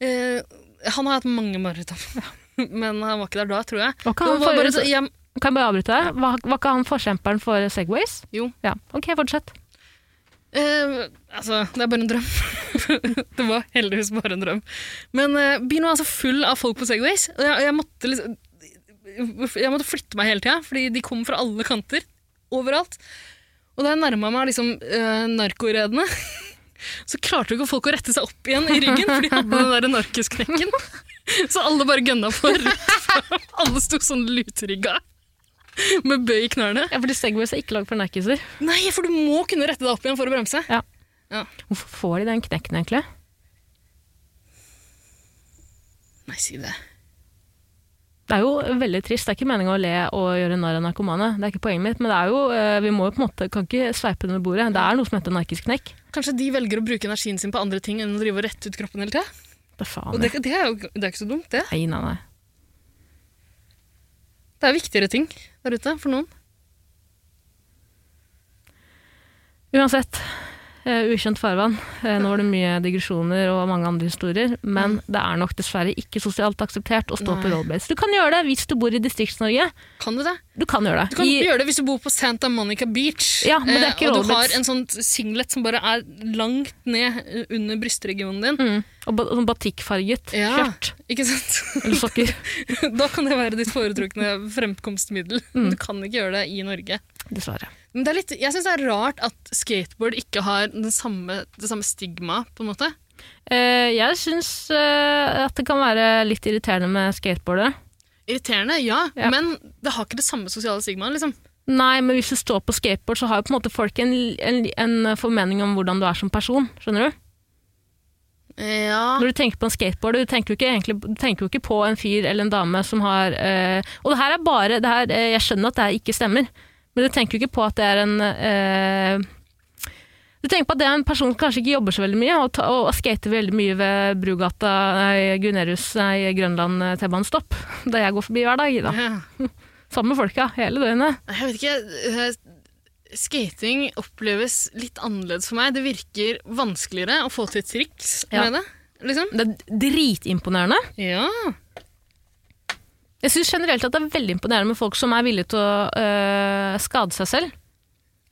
Eh, han har hatt mange mareritt om, [LAUGHS] men han var ikke der da, tror jeg. Var ikke Det han var bare forrige- så- jeg Kan jeg bare avbryte deg? Var, var ikke han forkjemperen for Segways? Jo. Ja. Ok, fortsett. Eh, altså, det er bare en drøm. [LAUGHS] det var heldigvis bare en drøm. Men eh, byen var altså full av folk på Segways, og jeg, jeg måtte liksom jeg måtte flytte meg hele tida, fordi de kom fra alle kanter. Overalt. Og da jeg nærma meg liksom, eh, narkoredene, [LAUGHS] så klarte jo ikke folk å rette seg opp igjen i ryggen, for de hadde den der narkosknekken. [LAUGHS] Så alle bare gønna på rett fram. Alle sto sånn luterygga med bøy i knærne. Ja, fordi Segways er ikke lagd for narkiser. Nei, for du må kunne rette deg opp igjen for å bremse. Hvorfor får de den knekken, egentlig? Nei, si det. Det er jo veldig trist. Det er ikke meninga å le og gjøre narr av narkomane. Det er ikke poenget mitt, men det er jo, eh, vi må jo på en måte, kan ikke sveipe det under bordet. Det er noe som heter narkisk knekk. Kanskje de velger å bruke energien sin på andre ting enn å drive og rette ut kroppen hele tida. Da Og faen. det, det er jo det er ikke så dumt, det. Nei, nei, nei. Det er viktigere ting der ute for noen. Uansett, eh, ukjent farvann. Eh, nå var det mye digresjoner og mange andre historier, men det er nok dessverre ikke sosialt akseptert å stå på Mm. Nei. rollblades. Du kan gjøre det hvis du bor i Distrikts-Norge. Kan du det? Du kan gjøre det. Du kan I, gjøre det hvis du bor på Santa Monica Beach, Ja, men det er eh, ikke og du Rolex. har en sånn singlet som bare er langt ned eh, under brystregionen din. mm, og ba, sånn batikkfarget Ja. skjørt Ikke sant? [LAUGHS] eller sokker. Da kan det være ditt foretrukne fremkomstmiddel. Du kan ikke gjøre det i Norge. Dessverre. Men det er litt, jeg syns det er rart at skateboard ikke har den samme, det samme stigmaet, på en måte. Eh, jeg syns eh, at det kan være litt irriterende med skateboardet. Irriterende, ja, Ja. men det har ikke det samme sosiale stigmaet. Liksom. Nei, men hvis du står på skateboard, så har jo på en måte folk en, en, en formening om hvordan du er som person. Skjønner du? Ja. Når du tenker på en skateboard, du tenker jo ikke, egentlig, du tenker jo ikke på en fyr eller en dame som har eh, Og det her er bare det her, eh, Jeg skjønner at det her ikke stemmer, men du tenker jo ikke på at det er en eh, Du tenker på at det er en person som kanskje ikke jobber så veldig mye, og, ta, og skater veldig mye ved Brugata, nei, Gunerius, nei, Grønland eh, T-banestopp, der jeg går forbi hver dag. da. Ja. Sammen med folka, hele døgnet. Jeg vet ikke eh, Skating oppleves litt annerledes for meg. Det virker vanskeligere å få til triks Ja. med det. Liksom. Det er dritimponerende. Ja. Jeg syns generelt at det er veldig imponerende med folk som er villige til å øh, skade seg selv.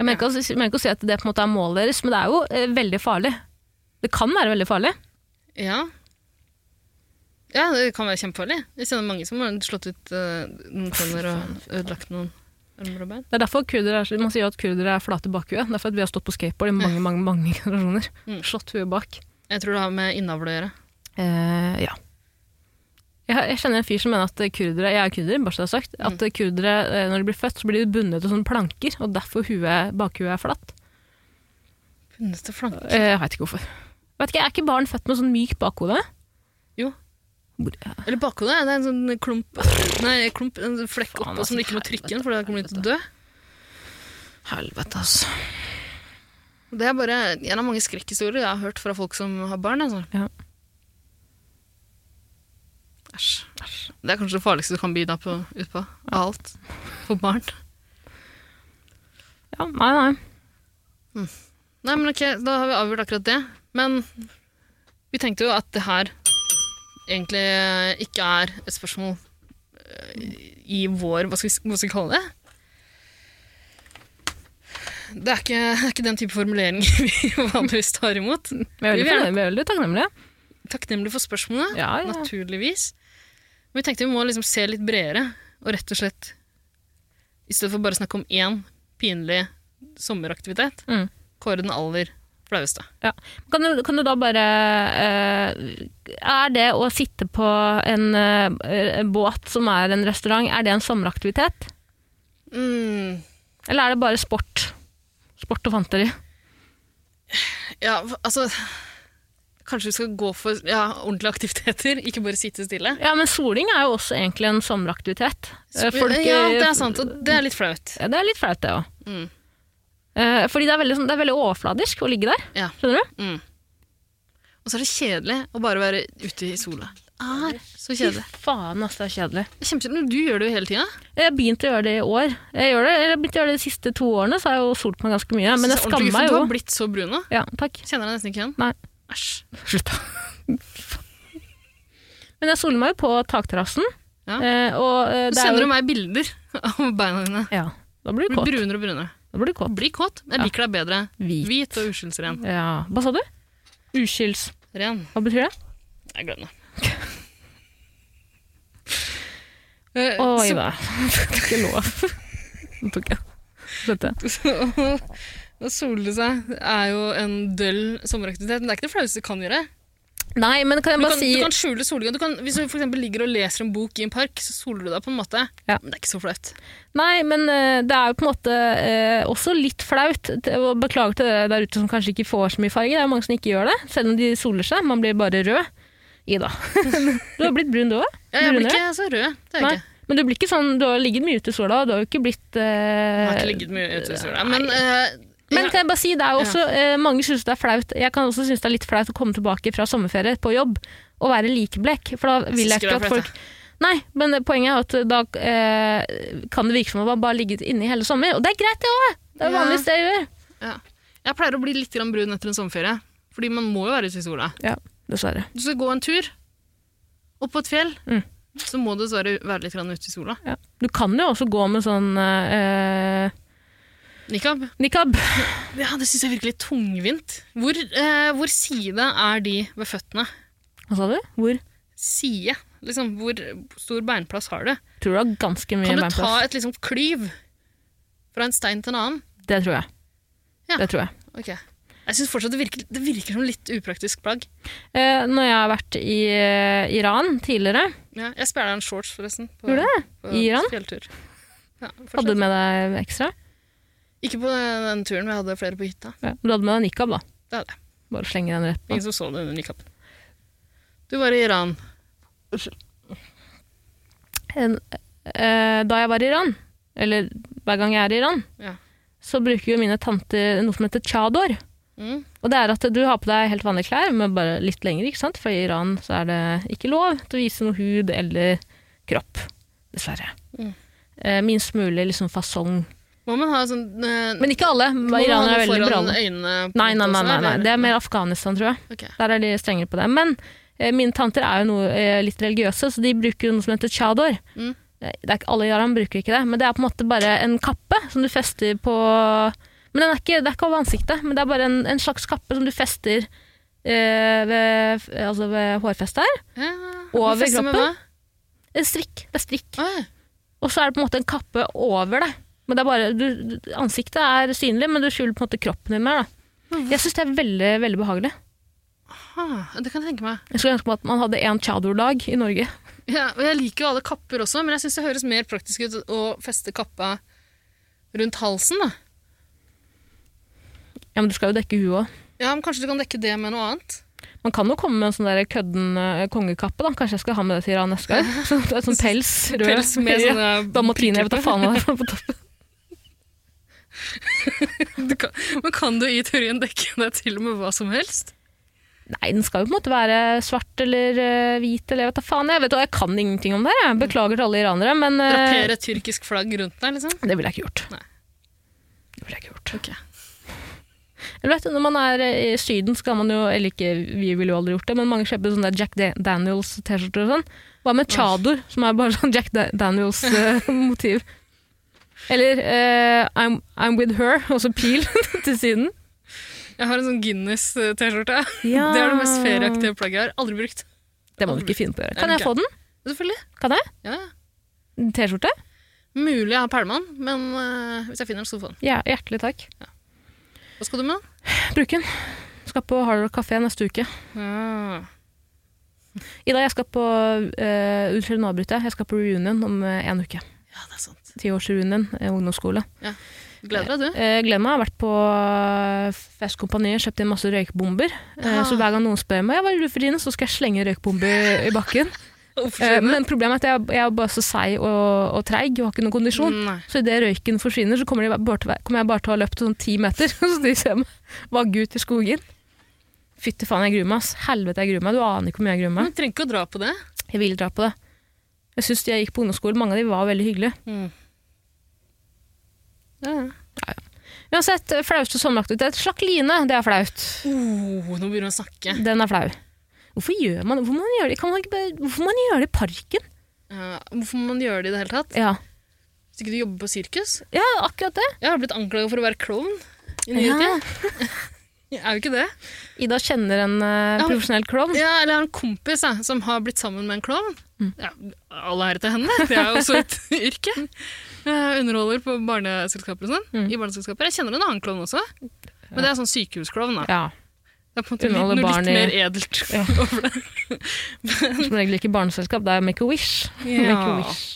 Jeg mener, ikke, å- jeg mener ikke å si at det på en måte er målet deres, men det er jo øh, veldig farlig. Det kan være veldig farlig. ja. Ja, det kan være kjempefarlig. Jeg kjenner mange som har slått ut eh, noen tenner og ødelagt noen armer og bein. Det er derfor kurder er, Man sier jo at kurdere er flate bak huet. Det er Derfor at vi har stått på skateboard i mange mange, mange [LAUGHS] generasjoner. Mm. Slått huet bak. Jeg tror det har med innavl å gjøre. Eh, ja. Jeg, jeg kjenner en fyr som mener at kurdere Jeg er kurder, bare så det er sagt. At kurdere, eh, når de blir født, så blir de bundet til sånne planker, og derfor huet, bakhuet er flatt. Bundet til flanke. Eh, Jeg veit ikke hvorfor. Vet ikke, Er ikke barn født med sånn mykt bakhode? Jo. Hvor- ja, Eller bakhodet. Det er en sånn klump, [LAUGHS] nei, klump en flekk Faen, oppå altså, som du ikke må trykke helvete, inn, for da kommer du til å dø. Helvete, altså. Det er bare en av mange skrekkhistorier jeg har hørt fra folk som har barn. Altså. Ja. Æsj. Det er kanskje det farligste du kan by deg på utpå. Av alt. For barn. Ja, nei, nei. Nei, men ok, da har vi avgjort akkurat det. Men vi tenkte jo at det her egentlig ikke er et spørsmål eh, i vår Hva skal vi, hva skal vi kalle det? Det er, ikke, det er ikke den type formuleringer [LAUGHS] vi vanligvis tar imot. Vi er veldig, Vi vil gjerne- fornøyd- vi er veldig takknemlige. Takknemlig for spørsmålet. Ja, ja. Naturligvis. Men vi tenkte vi må liksom se litt bredere, og rett og slett I stedet for bare å snakke om én pinlig sommeraktivitet, Mm. kåre den aller flaueste. Ja. Kan, du, kan du da bare eh, Er det å sitte på en eh, båt som er en restaurant, er det en sommeraktivitet? Mm. Eller er det bare sport? Sport og fanteri. Ja, altså Kanskje vi skal gå for ja, ordentlige aktiviteter, ikke bare sitte stille. Ja, men soling er jo også egentlig en sommeraktivitet. Eh, folk- ja, det er sant, og det er litt flaut. Ja, det er litt flaut, det òg. Mm. Eh, fordi det er, veldig, sånn- det er veldig overfladisk å ligge der. Ja. Skjønner du? Mm. Og så er det kjedelig å bare være ute i sola. Det er så kjedelig. Fy faen, altså, det er kjedelig. Kjempekjedelig. Du gjør det jo hele tida. Jeg har begynt å gjøre det i år. Jeg, gjør det, eller jeg har begynt å gjøre det De siste to årene så har jeg jo solt meg ganske mye. Men jeg skammer meg Du jo. har blitt så brun nå. Ja, takk. Kjenner deg nesten ikke igjen. Nei, Æsj. slutt da. Men jeg soler meg jo på takterrassen. Ja. eh, og, eh, Du det er sender jo, jo meg bilder av beina dine. Ja, da blir Du du Blir kåt. brunere og brunere. Da blir du kåt. Bli kåt. Jeg Ja. liker deg bedre. Hvit. Hvit og uskyldsren. Ja. Hva sa du? Uskylds. Ren. Hva betyr det? Jeg glem [LAUGHS] det. Oi Eh, så, da. [LAUGHS] Det er ikke lov. [LAUGHS] Nå tok jeg. Skjønte jeg. så, å sole seg er jo en døll sommeraktivitet, men det er ikke det flaueste du kan gjøre. Nei, men kan Du jeg bare kan, si du kan skjule solgang. Du kan, hvis du for eksempel ligger og leser en bok i en park, så soler du deg på en måte. Ja. Men det er ikke så flaut. Nei, men eh, det er jo på en måte eh, også litt flaut. Det- og Beklager til dere der ute som kanskje ikke får så mye farge. Det er mange som ikke gjør det, selv om de soler seg. Man blir bare rød. Ida. [LAUGHS] du har blitt brun, du òg. Ja, jeg blir Brunere? ikke så rød. Det er jeg ikke. Men du blir ikke sånn, du har ligget mye ute i sola, og du har jo ikke blitt eh, Jeg har ikke ligget mye ute i sola. Men eh, Men ja, kan jeg bare si, det er jo også, eh, mange syns det er flaut. Jeg kan også synes det er litt flaut å komme tilbake fra sommerferie på jobb og være likeblek. For da vil Syns jeg ikke ikke det er at flaut, folk Nei, men poenget er at da eh, kan det virke som om man bare har ligget inne hele sommer. Og det er greit, det òg! Det er Ja. vanligst det jeg gjør. ja. Jeg pleier å bli litt grann brun etter en sommerferie. Fordi man må jo være ute i sola. Ja, dessverre. Du skal gå en tur opp på et fjell, Mm. så må du dessverre være litt grann ute i sola. Ja. Du kan jo også gå med sånn eh, Nikab. nikab. Ja, det syns jeg er virkelig tungvint. Hvor, eh, hvor side er de ved føttene? Hva sa du? Hvor? Side. Liksom, hvor stor beinplass har du? Tror du har ganske mye Kan du beinplass. ta et liksom klyv fra en stein til en annen? Det tror jeg. Ja. Det tror jeg. Ok. Det Jeg syns fortsatt det virker, det virker som litt upraktisk plagg. Eh, når jeg har vært i eh, Iran tidligere Ja, jeg spjæla en shorts, forresten. På, Gjorde du på I Iran? fjelltur. Ja, fortsett. Hadde du med deg ekstra? Ikke på den, den turen, men jeg hadde flere på hytta. Ja. Du hadde med deg nikab, da. Det hadde jeg. Bare slenge den rett på. Ingen som så det under nikappen. Du var i Iran. En, eh, da jeg var i Iran, eller hver gang jeg er i Iran, Ja. så bruker jo mine tanter noe som heter chador. Mm. Og det er at du har på deg helt vanlige klær, men bare litt lengre, ikke sant? For i Iran så er det ikke lov til å vise noe hud eller kropp, dessverre. Mm. Eh, minst mulig liksom fasong. Må man ha sånn eh, Men ikke alle. må man ha Iranere er noe veldig bra. foran øynene? på Nei, nei, en nei, måte nei, også, nei. eller? Det er mer Afghanistan, tror jeg. Ok. Der er de strengere på det. Men eh, mine tanter er jo noe, eh, litt religiøse, så de bruker jo noe som heter chador. Mm. Eh, Det er ikke, alle jaran bruker ikke det, men det er på en måte bare en kappe som du fester på Men den er ikke, det er ikke over ansiktet, men det er bare en, en slags kappe som du fester eh, ved, altså ved hårfestet her. Ja. Over Hvorfor fester man kroppen? da? En strikk. Det er strikk. Å, ja. Og så er det på en måte en kappe over det. Men det er bare, du, du, ansiktet er synlig, men du skjuler på en måte kroppen din mer. Da. Jeg syns det er veldig, veldig behagelig. Ah, det kan jeg tenke meg. Jeg skulle ønske meg at man hadde én chador-dag i Norge. Ja, og jeg liker jo alle kapper også, men jeg syns det høres mer praktisk ut å feste kappa rundt halsen. da. Ja, men du skal jo dekke huet òg. Ja, men Kanskje du kan dekke det med noe annet? Man kan jo komme med en sånn der kødden eh, kongekappe. da. Kanskje jeg skal ha med det til Iran neste gang. Sånn, det er sånn [LAUGHS] pels. Rød. Pels med [LAUGHS] sånn Ja. sånne Dalmatiner, jeg vet da faen hva det er på toppen. [LAUGHS] Du kan, men kan du i teorien dekke deg til med hva som helst? Nei, den skal jo på en måte være svart eller eh, hvit eller jeg vet da faen. Jeg vet da, jeg kan ingenting om det. her, Jeg beklager til alle iranere, men eh, Drapere et tyrkisk flagg rundt deg, liksom? det ville jeg ikke gjort. Nei. Det ville jeg ikke gjort. Ok. Eller vet du, Når man er eh, i Syden, skal man jo Eller ikke, vi ville jo aldri gjort det, men mange kjøper sånne der Jack Da- Daniels-T-skjorter og sånn. Hva med chador, som er bare [LAUGHS] sånn Jack [LAUGHS] Daniels-motiv? Eller eh, I'm, I'm with her, [LAUGHS] og så pil til siden. Jeg har en sånn [LAUGHS] Guinness-T-skjorte. Det er det mest ferieaktige plagget jeg har. Aldri brukt. Det må du ikke finne på å gjøre. Er Kan det jeg få den? Selvfølgelig. Kan jeg? Ja. T-skjorte? Mulig jeg har pælmann, men eh, hvis jeg finner den, så får jeg den. Ja, hjertelig takk. Hva skal du med den? Bruk den. Skal på Hard Rock Café neste uke. Ah. Ja. Ida, jeg skal på uh, Unnskyld, nå avbryter jeg. Jeg skal på reunion om eh, en uke. ja, det er sant. Tiårsreunion, eh, ungdomsskole. Gleder deg, du. Eh, Gleder meg, jeg har vært på eh, festkompaniet, kjøpt inn masse røykbomber. Eh, Ah. Så hver gang noen spør meg «Ja, hva gjør du for tiden, så skal jeg slenge røykbomber i bakken. Eh, Hvorfor Men problemet er at jeg, jeg er bare så seig og, og treig og har ikke noen kondisjon. Nei. Så idet røyken forsvinner, så kommer, de bare til, kommer jeg bare til å ha løpt sånn ti meter. [LAUGHS] Så de ser meg vagge ut i skogen. Fytti faen, jeg gruer meg. ass. Helvete, jeg gruer meg. Du aner ikke hvor mye jeg gruer meg. Men trenger ikke å dra på det. Jeg vil dra på det. Jeg syns de jeg gikk på ungdomsskolen, mange av de var veldig hyggelige. Ja. Uansett, flaueste sommeraktivitet. Slakk line, det er flaut. Oh, nå begynner vi å snakke. Den er flau. Hvorfor gjør man, hvorfor man gjør det? Kan man ikke bare, hvorfor man gjør det i parken? Ja, hvorfor må man gjøre det i det hele tatt? Ja, Hvis ikke du jobber på sirkus? ja akkurat det. Jeg har blitt anklaget for å være klovn i nyere Ja. tid. Jeg er jo ikke det. Ida kjenner en eh, Ja, men- profesjonell klovn. Ja, eller jeg har en kompis da, som har blitt sammen med en klovn. Mm. Ja, all ære til henne. Det er jo også et [LAUGHS] yrke. Jeg underholder på barneselskaper og sånn. Mm. I barneselskaper. Jeg kjenner en annen klovn også. Men det er sånn sykehusklovn. da. Ja, Det er på en måte Underholder litt, noe barn litt i- mer edelt [LAUGHS] over det. som regel ikke barneselskap. Det er Make a Wish. [LAUGHS] Make a Ja. wish.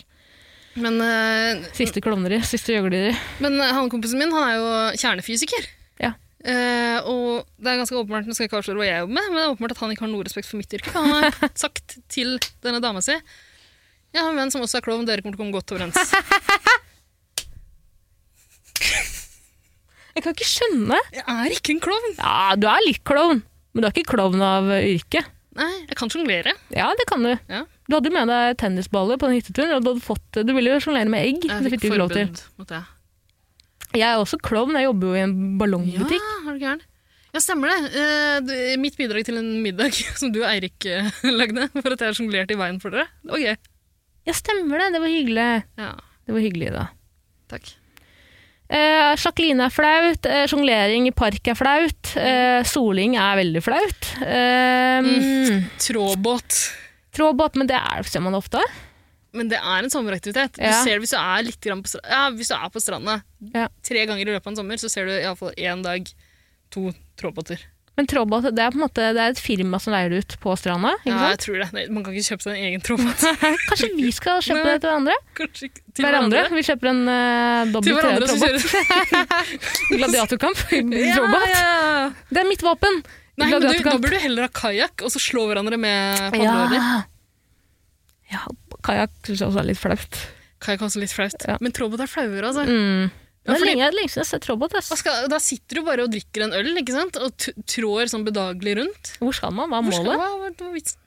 Men, eh, Siste klovneri, siste gjøgleri. men han kompisen min han er jo kjernefysiker. Ja. Eh, og det er ganske åpenbart, nå skal jeg ikke avsløre hva jeg jobber med, men det er åpenbart at han ikke har noe respekt for mitt yrke. [LAUGHS] Han har sagt til denne dama si Jeg har en venn som også er klovn, dere kommer til å komme godt overens. Jeg kan ikke skjønne. Jeg er ikke en klovn. Ja, du er litt klovn, men du er ikke klovn av eh, yrke. Nei, jeg kan sjonglere. Ja, det kan du. Ja. Du hadde jo med deg tennisballer på den hytteturen, og du, hadde fått, du ville jo sjonglere med egg. Jeg Det fikk du ikke lov til. mot det. Jeg er også klovn, jeg jobber jo i en Ja, ballongbutikk. er du gæren? Ja, stemmer det. Eh, du- mitt bidrag til en middag [LAUGHS] som du og Eirik eh, [LAUGHS] lagde for at jeg sjonglerte i veien for dere. Det var gøy. Ja, stemmer det. Det var hyggelig. Ja, Det var hyggelig, da. takk. Eh, Jacqueline er flaut. Eh, sjonglering i park er flaut. Eh, soling er veldig flaut. Eh, Tråbåt. Tråbåt, men det er, ser man det ofte. Men det er en sommeraktivitet. Ja. Du ser det hvis du er litt grann på stranda. Ja, hvis du er på stranda Ja. tre ganger i løpet av en sommer, så ser du iallfall én dag, to, trådbåter. Men trådbåt, det er på en måte det er et firma som leier ut på stranda? ikke Ja, sant? jeg tror det. Nei, man kan ikke kjøpe seg en egen [LAUGHS] trådbåt. Kanskje vi skal kjøpe Nei. det til hverandre? Kanskje ikke. Til hverandre. Vi kjøper en uh, Til dobbelt hverandre som [LAUGHS] trådbåt. kjører. Gladiatorkamp. [LAUGHS] Ja, Trådbåt. ja, ja. Det er mitt våpen! Nei, men du, da Gladiatorkamp. burde du heller ha kajakk, og så slå hverandre med padlehoder. Ja. ja Kajakk syns jeg også er litt flaut. Kajakk er også litt flaut. Ja. Men trådbåt er flauere, altså. Mm. Ja, Det er fordi- lenge, lenge siden jeg har sett trådbåt. Hva ass. skal, da sitter du bare og drikker en øl, ikke sant? Og t trår sånn bedagelig rundt. Hvor skal man? Hva er Hvor skal- målet? Hva, hva, hva, vits-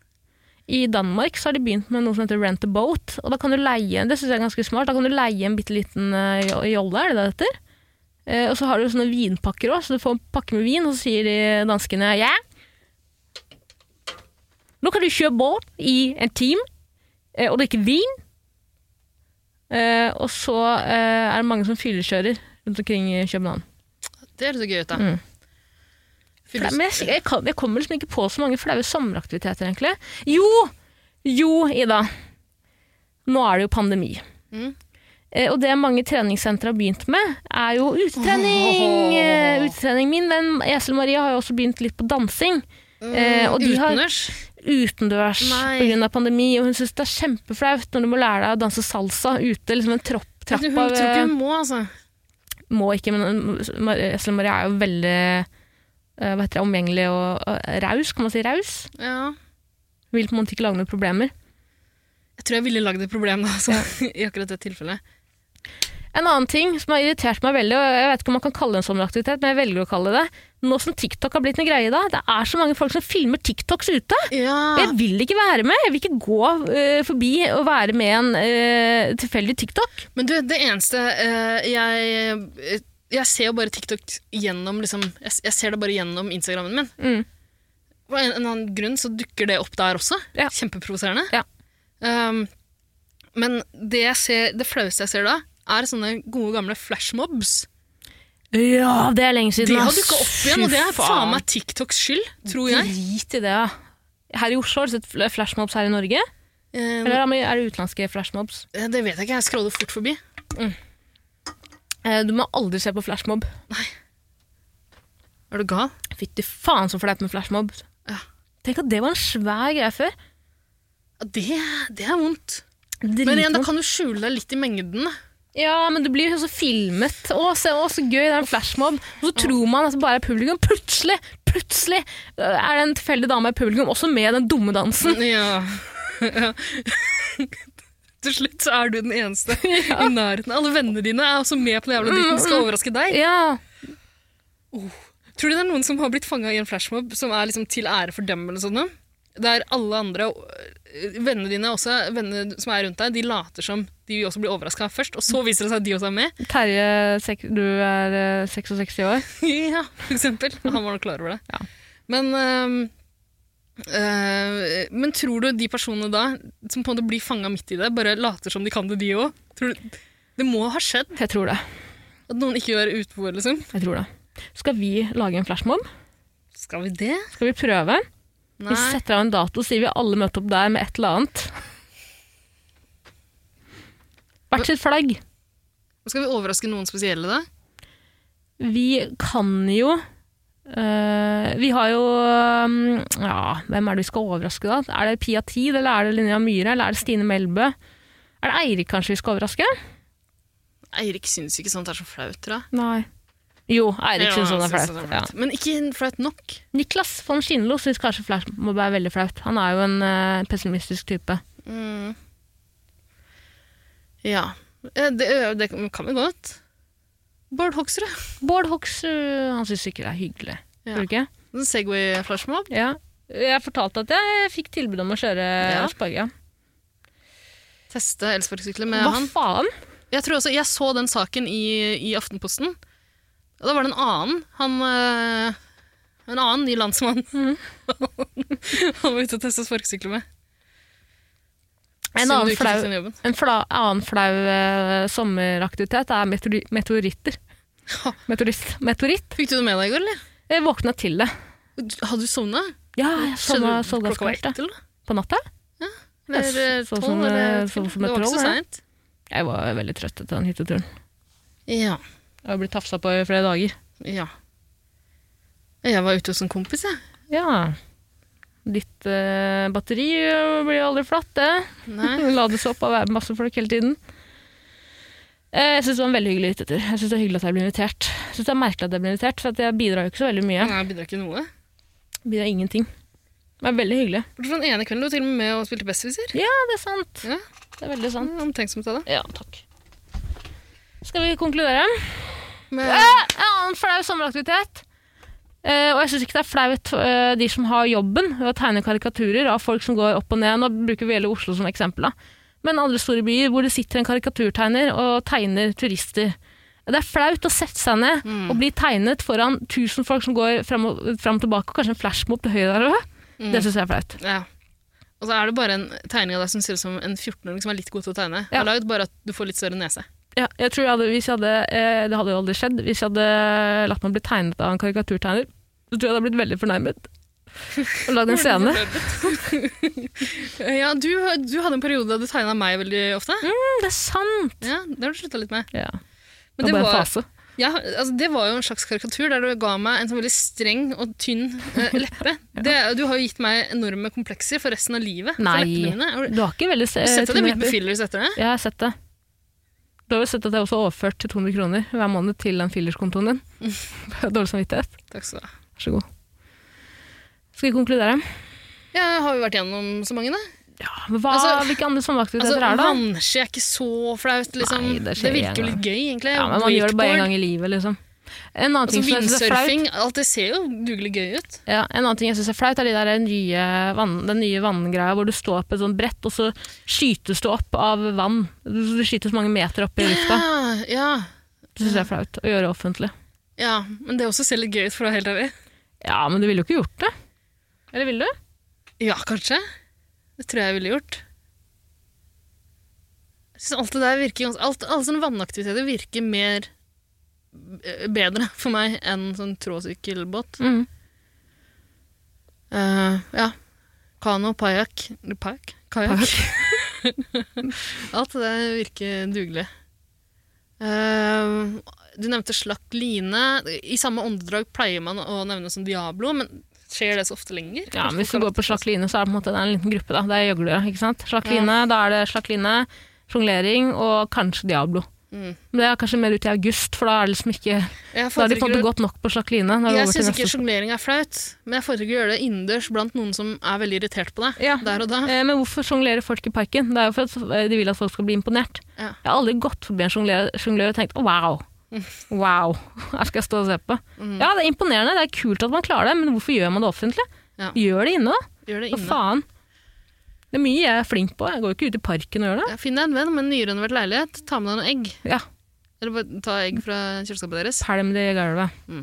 I Danmark så har de begynt med noe som heter rent a boat. Og da kan du leie det synes jeg er ganske smart, da kan du leie en bitte liten eh, jo- jolle, er det det heter? Eh, og så har du sånne vinpakker òg, så du får en pakke med vin, og så sier de danskene ja. Nå kan du kjøre båt i en time eh, og drikke vin. Eh, og så eh, er det mange som fyllekjører rundt omkring i København. det høres så gøy ut, da. Mm. Fy, Fla- Men jeg, jeg, kan, jeg kommer liksom ikke på så mange flaue sommeraktiviteter, egentlig. Jo! Jo, Ida. Nå er det jo pandemi. Mm. Eh, og det mange treningssentre har begynt med, er jo utetrening. Åh. Eh, utetrening. Min venn Esel Maria har jo også begynt litt på dansing. eh, og de har- Utendørs? Utendørs Nei. pga. pandemi, og hun syns det er kjempeflaut når du må lære deg å danse salsa ute. liksom en tropp, Hun trapp tror av eh, ikke hun må, altså. Må ikke, men Mar- Esel Maria er jo veldig eh, hva heter det, omgjengelig og, og raus. Kan man si raus? Ja. Vil på en måte ikke lage noen problemer. Jeg tror jeg ville lagd et problem da, altså, [LAUGHS] i akkurat det tilfellet. En annen ting som har irritert meg veldig, og jeg vet ikke om man kan kalle det en sommeraktivitet, men jeg velger å kalle det det, nå som TikTok har blitt en greie da, det er så mange folk som filmer TikToks ute. Ja, Jeg vil ikke være med, jeg vil ikke gå eh, forbi og være med en eh, tilfeldig TikTok. Men du, det eneste eh, jeg, eh, jeg ser jo bare TikTok gjennom liksom, jeg, jeg ser det bare gjennom Instagrammen min. Mm. Av en, en annen grunn så dukker det opp der også. Ja. Kjempeprovoserende. Ja. Um, men det, jeg ser, det flaueste jeg ser da, er sånne gode gamle flashmobs. Ja, det er lenge De siden. har ass. dukka opp igjen, og det er Fy faen meg TikToks skyld, tror jeg. Drit i det, ja. Her i Oslo har du sett fl- flashmobs her i Norge? Eh, Eller er det utenlandske flashmobs? det vet jeg ikke, jeg scroller fort forbi. Eh, Du må aldri se på flashmob. Er du gal? Fytti faen så flaut med flashmob. Ja. Tenk at det var en svær greie før. Ja, Det, det er vondt. Men igjen, da kan du skjule deg litt i mengden. [LAUGHS] Ja, men du blir jo så filmet. Å, se, å, så gøy, det er en flashmob. Og så tror man at det bare er publikum. Plutselig, plutselig øh, er det en tilfeldig dame i publikum, også med den dumme dansen. Ja. [LAUGHS] Til slutt så er du den eneste i nærheten. Alle vennene dine er også med på den jævla dritten og Mm. skal overraske deg. Ja, Tror du det er noen som har blitt fanga i en flashmob som er liksom til ære for dem? eller sånn, sånne? Der alle andre, øh, vennene dine også, vennene som er rundt deg, de later som de også blir overraska først, og så viser det seg at de også [LAUGHS] er med. Terje, sek- du er øh, 66 år. ja, for eksempel. Han var nok klar over det. Ja. Men, øhm, øh, men tror du de personene da, som på en måte blir fanga midt i det, bare later som de kan det, de òg? Det må ha skjedd Jeg tror det. at noen ikke gjør uteboer, liksom. jeg tror det. Skal vi lage en flashmob? Skal vi det? Skal vi prøve? Nei. Vi setter av en dato, sier vi alle møter opp der med et eller annet. Hvert sitt flagg. Skal vi overraske noen spesielle, da? Vi kan jo øh, Vi har jo øhm, Ja, hvem er det vi skal overraske, da? Er det Pia Tid, eller er det Linnea Myhre, eller er det Stine Melbø? Er det Eirik kanskje vi skal overraske? Eirik syns ikke sånt er så flaut, tror jeg. Nei. Jo, Eirik Ja, syns han er synes flaut. det Ja. Men ikke flaut nok. Niklas von Skinlo syns kanskje flashmob er veldig flaut. Han er jo en øh, pessimistisk type. Mm. Ja. Eh, Det, ø, det kan vi godt. Bård Hoksrud. Bård Hoksrud han syns ikke det er hyggelig. Ja. Tror du ikke? En Segway-flashmob. Ja. Jeg fortalte at jeg fikk tilbud om å kjøre ja. Ja. sparga. Teste elsparkesykler med Hva han. faen? Jeg, tror også, jeg så den saken i, i Aftenposten. Og da var det en annen. Han, øh, en annen ny [LAUGHS] landsmann. Mhm. [LAUGHS] han var ute og testa sparkesykler med. En Synd du annen ikke flau fikk den jobben. En fla, annen flau eh, sommeraktivitet er meteori, meteoritter. Ha. Meteorist, meteoritt. Fikk du det med deg i går, eller? Jeg våkna til det. Hadde du sovna? Ja, jeg sovna så ganske klokka var mørkt. ett, eller? jeg. På natta? Eller Jeg så- så tolv, som, eh, eller øh, så til. som Det et var ikke så troll, jeg. seint. Jeg var veldig trøtt etter den hytteturen. Ja. Jeg har blitt tafsa på i flere dager. ja. Jeg var ute hos en kompis, jeg. Ja. Ditt eh, batteri eh, blir jo aldri flatt, det. Nei. [LAUGHS] Lades opp av å være med masse folk hele tiden. Eh, Jeg syns det var en veldig hyggelig lyttetur. Jeg synes det er hyggelig at jeg ble invitert. Jeg synes det er merkelig at jeg ble invitert, for at jeg bidrar jo ikke så veldig mye. Nei, jeg bidrar ikke noe. Mm. Bidrar ingenting. Men det er veldig hyggelig. Bortsett fra den ene kvelden du var til og med med og spilte Besserwisser. Ja, det er sant. Mm. Ja. Det er veldig sant. Omtenksomt av deg. Ja, takk. Skal vi konkludere? Men En annen flau sommeraktivitet. Eh, og jeg syns ikke det er flaut eh, de som har jobben ved å tegne karikaturer av folk som går opp og ned. Nå bruker vi hele Oslo som eksempel, da. Men andre store byer hvor det sitter en karikaturtegner og tegner turister. Det er flaut å sette seg ned Mm, og bli tegnet foran tusen folk som går fram og, fram og tilbake, og kanskje en flashmob til høyre der òg. Det syns jeg er flaut. mm. Ja. Og så er det bare en tegning av deg som ser ut som en 14-åring som er litt god til å tegne. Ja. Har lagd bare at du får litt større nese. Ja, jeg tror jeg hadde, hvis jeg hadde, eh, det hadde jo aldri skjedd. Hvis jeg hadde latt meg bli tegnet av en karikaturtegner, så tror jeg jeg hadde blitt veldig fornærmet. Og lagd en scene. ja, du, du hadde en periode da du tegna meg veldig ofte. Mm, Det er sant! Ja, Det har du slutta litt med. Ja. Men det det var bare en var- fase. Ja, altså, det var jo en slags karikatur der du ga meg en sånn veldig streng og tynn eh, [LAUGHS] leppe. det, du har jo gitt meg enorme komplekser for resten av livet. Nei. For leppene mine. Har du- Du har ikke veldig se- Har du sett at det er blitt tynne med lepper. fillers etter det? Ja, Jeg har sett det. Du har jo sett at jeg også har overført til 200 kroner hver måned til den fillerskontoen din. Mm. [LAUGHS] Dårlig samvittighet. Takk skal du ha. Vær så god. Skal vi konkludere? Ja, har vi vært gjennom så mange, da? Ja, men hva, Altså- hvilke andre Altså, sommeraktiviteter er det? da? Vannski er ikke så flaut, liksom. Nei, det, det skjer virker jo en litt gøy, egentlig. Ja, men Man gjør det bare én Wakeboard. gang i livet, liksom. En annen Altså, ting som jeg synes er flaut, Vindsurfing, alt det ser jo dugelig gøy ut. Ja, en annen ting jeg synes er flaut, er de der nye vann, den nye vanngreia hvor du står på et sånt brett, og så skytes du opp av vann. Du, du skytes mange meter opp i lufta. Ja, Ah, ja, Det synes jeg er flaut å gjøre offentlig. ja, men det også ser litt gøy ut, for å være helt ærlig. Ja, men du ville jo ikke gjort det. Eller ville du? Ja, kanskje. Det tror jeg jeg ville gjort. Jeg synes alt det der virker gans- alt, Alle sånne vannaktiviteter virker mer eh, bedre for meg enn sånn tråsykkelbåt. Mm. Eh, ja. Kano, pajakk Pajakk? Kajakk. [LAUGHS] Alt det der virker dugelig. Eh, du nevnte slakk line. I samme åndedrag pleier man å nevne som Diablo, men skjer det så ofte lenger? Ja, men Hvis du går på slakk line, så er det på en måte det er en liten gruppe. da. Det er gjøglere. ikke sant? Slakk line, Da er det slakk line, sjonglering og kanskje Diablo. Mm. Men Det er kanskje mer ut i august, for da er det liksom ikke, Jeg da har de på en foretrekker måte å- gått nok på slakk line. da er det Jeg over til syns ikke neste- sjonglering er flaut, men jeg foretrekker å gjøre det innendørs blant noen som er veldig irritert på deg. Ja. Der og da. Eh, Men hvorfor sjonglerer folk i parken? Det er jo for at eh, de vil at folk skal bli imponert. Ja. Jeg har aldri gått forbi en sjongler sjongler og tenkt «Å, wow. Wow, [LAUGHS] her skal jeg stå og se på. Mm. Ja, det er imponerende, det er kult at man klarer det, men hvorfor gjør man det offentlig? Ja. Gjør det inne, da. Gjør det Hva inne. faen? Det er mye jeg er flink på, jeg går jo ikke ut i parken og gjør det. Ja, Finn deg en venn med en nyrenovert leilighet, ta med deg noen egg. Ja, Eller bare ta egg fra kjøleskapet deres. pælm det i gulvet. Mm.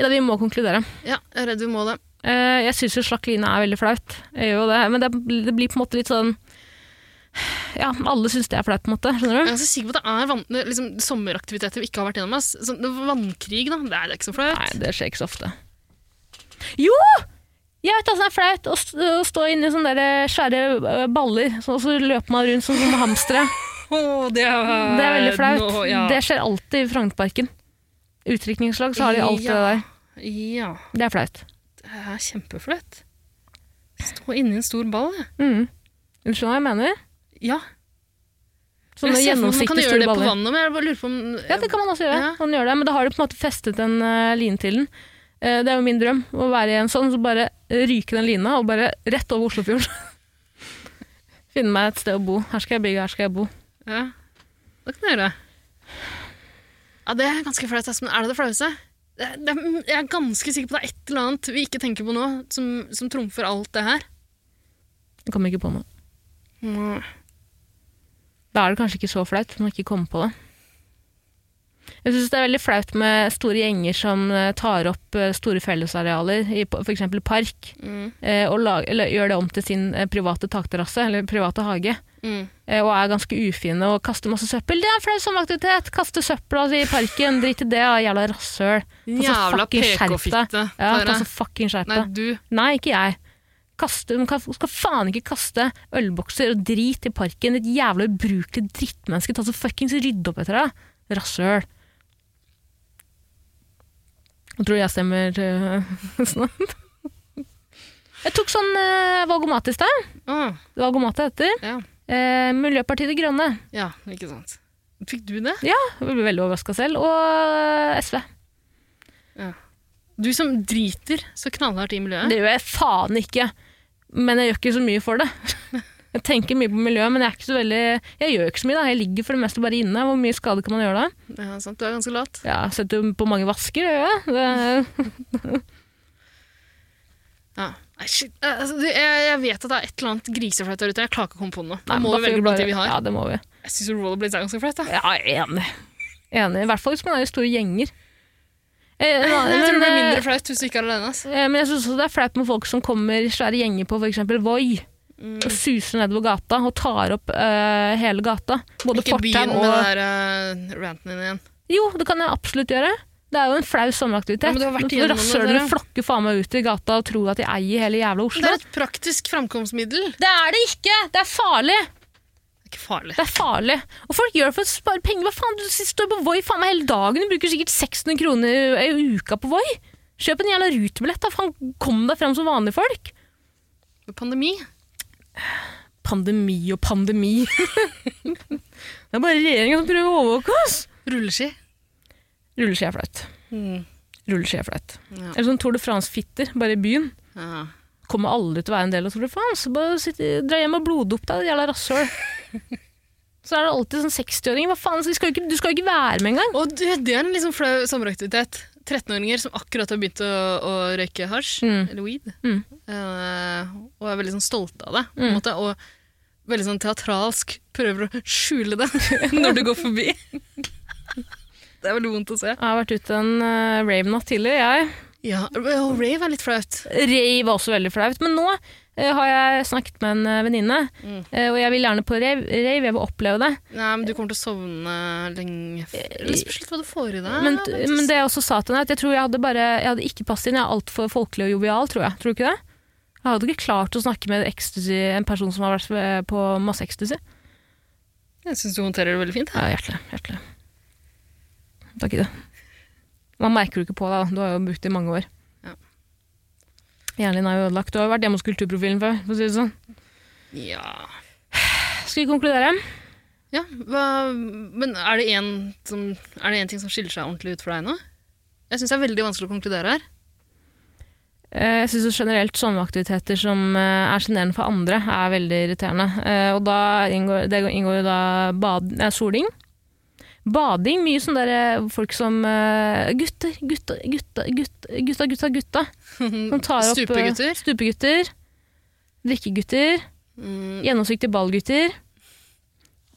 Ja, vi må konkludere. Ja, jeg er redd vi må det. Eh, jeg syns jo slakk line er veldig flaut, jeg gjør jo det, men det, det blir på en måte litt sånn Ja, alle syns det er flaut, på en måte. Skjønner du? Jeg er ganske sikker på at det er vann, det er liksom, sommeraktiviteter vi ikke har vært gjennom. Ass. Sånn, det- vannkrig, da. Det er, det er ikke så flaut. Nei, det skjer ikke så ofte. Jo! Jeg vet hva som er flaut. Å st- å stå inni sånne der svære øh, baller, så, så løper man rundt som sånne hamstere. Åh, det, er, Det er veldig flaut. Eh, Nå, ja. Det skjer alltid i Frognerparken. Utdrikningslag, så har de alltid det der. ja, Det er flaut. det er kjempeflaut. Stå inni en stor ball, jeg. Mm. Du skjønner hva jeg mener? Ja. Sånne Jeg ser for meg Man kan gjennomsiktige gjøre store det på baller. vannet, men jeg bare lurer på om Ja, det kan man også gjøre. Ja. Man gjør det, men da har du på en måte festet en øh, line til den. Eh, det er jo min drøm, å være i en sånn, så bare ryke den lina, og bare rett over Oslofjorden. [LAUGHS] Finne meg et sted å bo. Her skal jeg bygge, her skal jeg bo. Ja, det kan du gjøre. Ja, det er ganske flaut, ass, men er det det flaueste? Det er- det er- Jeg er ganske sikker på det er et eller annet vi ikke tenker på nå, som, som trumfer alt det her. Jeg kommer ikke på noe. Da er det kanskje ikke så flaut, for man ikke kommer på det. Jeg syns det er veldig flaut med store gjenger som eh, tar opp eh, store fellesarealer, i f.eks. park, Mm. eh, og lag, eller, gjør det om til sin eh, private takterrasse eller private hage, Mm. eh, og er ganske ufine og kaster masse søppel. Det er en flau sommeraktivitet! Kaste søpla si i parken, drit i det, da, jævla rasshøl. så Jævla fucking skjerp deg. PK-fitte. Ja, Tara. ta så fucking skjerp Nei, deg. du. Nei, ikke jeg. Kaste, man kan, skal faen ikke kaste ølbokser og drit i parken. Et jævla ubrukelig drittmenneske. Ta så fuckings rydde opp etter deg. Rasshøl. Jeg tror jeg stemmer eh, [LAUGHS] snart. Jeg tok sånn eh, valgomat i sted. Ah, Valgomat heter. ja. Eh, Miljøpartiet De Grønne. ja, ikke sant. Fikk du det? Jeg ble veldig overraska selv. Og eh, SV. Du som driter så knallhardt i miljøet. Det gjør jeg faen ikke. Men jeg gjør ikke så mye [LAUGHS] for det. Jeg tenker mye på miljø, men jeg, er ikke så veldig, jeg gjør ikke så mye. da. Jeg ligger for det meste bare inne. Hvor mye skade kan man gjøre da? Ja, sant? Du er ganske lat. Ja, Setter jo på mange vasker, det gjør jeg. Det, Ja. Nei, shit. Eh, Altså, du, jeg, jeg vet at det er et eller annet griseflaut der ute. Jeg klarer ikke å komme på noe. Da Nei, må men da vi får velge blant de vi har. Ja, det må vi. Jeg syns rollerblades er ganske flaut. da. Ja, jeg er enig. Enig. I hvert fall hvis man er i store gjenger. Eh, Jeg men, tror det blir mindre eh, flaut hvis du ikke er alene. altså. ass. eh, men jeg syns også det er flaut med folk som kommer i svære gjenger på f.eks. Voi. Mm. Og suser nedover gata og tar opp eh, hele gata. Både Ikke fortau begynn med og den der eh, ranten din igjen. Jo, det kan jeg absolutt gjøre. Det er jo en flau sommeraktivitet. Ja, men du har vært Når igjennom det, Rasshølene dere. flokker faen meg ut i gata og tror at de eier hele jævla Det Oslo. er et praktisk framkomstmiddel. Det er det ikke! Det er farlig! Det er ikke farlig. Det er farlig. Og folk gjør det for å spare penger. Hva faen, du står på Voi faen meg hele dagen. Du bruker sikkert 600 kroner i i uka på Voi. Kjøp en jævla rutebillett, da. Faen, kom deg fram som vanlige folk. Med Pandemi. Pandemi og pandemi. [LAUGHS] det er bare regjeringen som prøver å overvåke oss. Rulleski. Rulleski er flaut. Mm. Rulleski er flaut. Ja. Eller sånn Tour de France-fitter, bare i byen. Ja. kommer aldri til å være en del av Tour de France. Bare sitt, dra hjem og bloddop deg, jævla rasshøl. Så er det alltid sånn 60-åringer. Hva faen, så de skal jo ikke, du skal jo ikke være med engang! Og du, det er en liksom flau sommeraktivitet. 13-åringer som akkurat har begynt å, å røyke hasj, Mm. eller weed, Mm. eh, og er veldig sånn stolte av det. på Mm. en måte, og veldig sånn teatralsk prøver å skjule det [LAUGHS] når du går [LAUGHS] forbi. det er veldig vondt å se. Jeg har vært ute en uh, rave natt tidlig, jeg. Ja, og rave er litt flaut. Rave var også veldig flaut. Men nå eh, har jeg snakket med en eh, venninne, Mm. eh, og jeg vil gjerne på rave. rave. Jeg vil oppleve det. Nei, men du kommer til å sovne lenge f- Eller spørs litt hva du får i deg. Men, faktisk. men det jeg også sa til henne, er at jeg tror jeg hadde, bare, jeg hadde ikke passet inn. Jeg er altfor folkelig og jovial, tror jeg. Tror du ikke det? Jeg hadde ikke klart å snakke med ecstasy, en person som har vært eh, på masse ecstasy. Jeg syns du håndterer det veldig fint. Ja, hjertelig. hjertelig. Takk i det. Man merker jo ikke på deg, da. Du har jo brukt det i mange år. Ja. Hjernen din er jo ødelagt. Du har jo vært hjemme hos kulturprofilen før. for å si det sånn. Ja. Skal vi konkludere? ja hva, men er det, en som, er det en ting som skiller seg ordentlig ut for deg nå? Jeg syns det er veldig vanskelig å konkludere her. [LAUGHS] Eh, Jeg syns generelt sommeraktiviteter som eh, er sjenerende for andre, er veldig irriterende. Eh, Og da inngår, det inngår jo da bad, nei, soling. Bading. Mye sånn derre folk som eh, Gutter, gutta, gutta, gutta, gutta, gutta. gutta Mm, som tar opp eh, Stupegutter. Stupegutter. Drikkegutter. Mm, Gjennomsiktige ballgutter.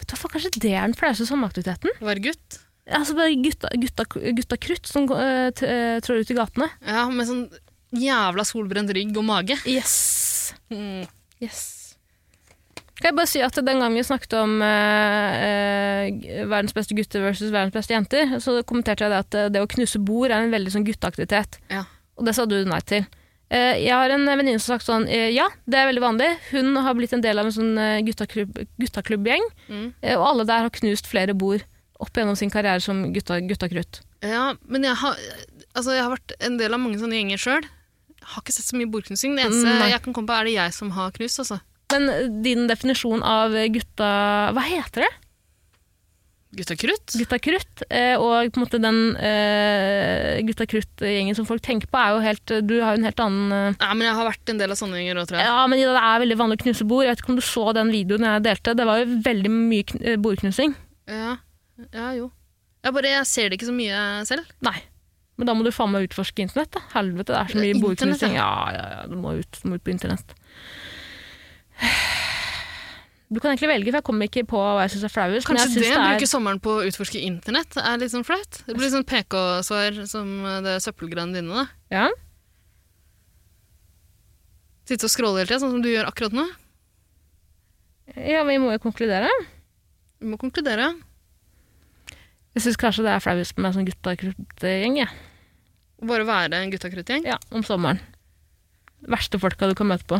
Vet du hva, faen, Kanskje det er den flaueste sommeraktiviteten? være gutt. Altså bare gutta, gutta, gutta krutt som eh, t eh, trår ut i gatene. Ja, med sånn jævla solbrent rygg og mage. Yes! Mm. Yes. Kan jeg bare si at Den gangen vi snakket om eh, eh, verdens beste gutter versus verdens beste jenter, så kommenterte jeg det at eh, det å knuse bord er en veldig sånn gutteaktivitet. Ja. Og det sa du nei til. Eh, jeg har en venninne som har sagt sånn eh, Ja, det er veldig vanlig. Hun har blitt en del av en sånn eh, guttaklubb, guttaklubbgjeng. Mm. Eh, Og alle der har knust flere bord opp gjennom sin karriere som gutta, guttakrutt. ja, men jeg har, altså, jeg har vært en del av mange sånne gjenger sjøl. Har ikke sett så mye bordknusing. Det eneste Mm, Nei. jeg kan komme på, er det jeg som har knust. Altså. Men eh, din definisjon av eh, gutta Hva heter det? Gutta krutt. Gutta krutt. eh, Og på en måte den eh, gutta krutt-gjengen som folk tenker på, er jo helt Du har jo en helt annen eh, Nei, men jeg har vært en del av sånne gjenger òg, tror jeg. Ja, men Ida, det er veldig vanlig å knuse bord. Jeg vet ikke om du så den videoen jeg delte. Det var jo veldig mye kn eh, bordknusing. Ja, ja jo. Jeg bare jeg ser det ikke så mye selv. Nei. Men da må du faen meg utforske internett, da. Helvete, det er så mye Internett, bordknusing. Ja, ja, ja, du må ut, du må ut på internett. [SIGHS] Du kan egentlig velge, for jeg kommer ikke på hva jeg syns er flauest. men Kanskje jeg det, synes bruker sommeren på å utforske internett er litt sånn flaut? Det blir sånn PK-svar som eh, det søppelgreiene dine. da. ja? Sitte og scrolle hele tida, sånn som du gjør akkurat nå. ja, vi må jo konkludere. Vi må konkludere. Jeg syns kanskje det er flauest med meg som gutta-krutt-gjeng, jeg. Bare være en guttakruttgjeng. Ja, om sommeren. Verste folka du kan møte på.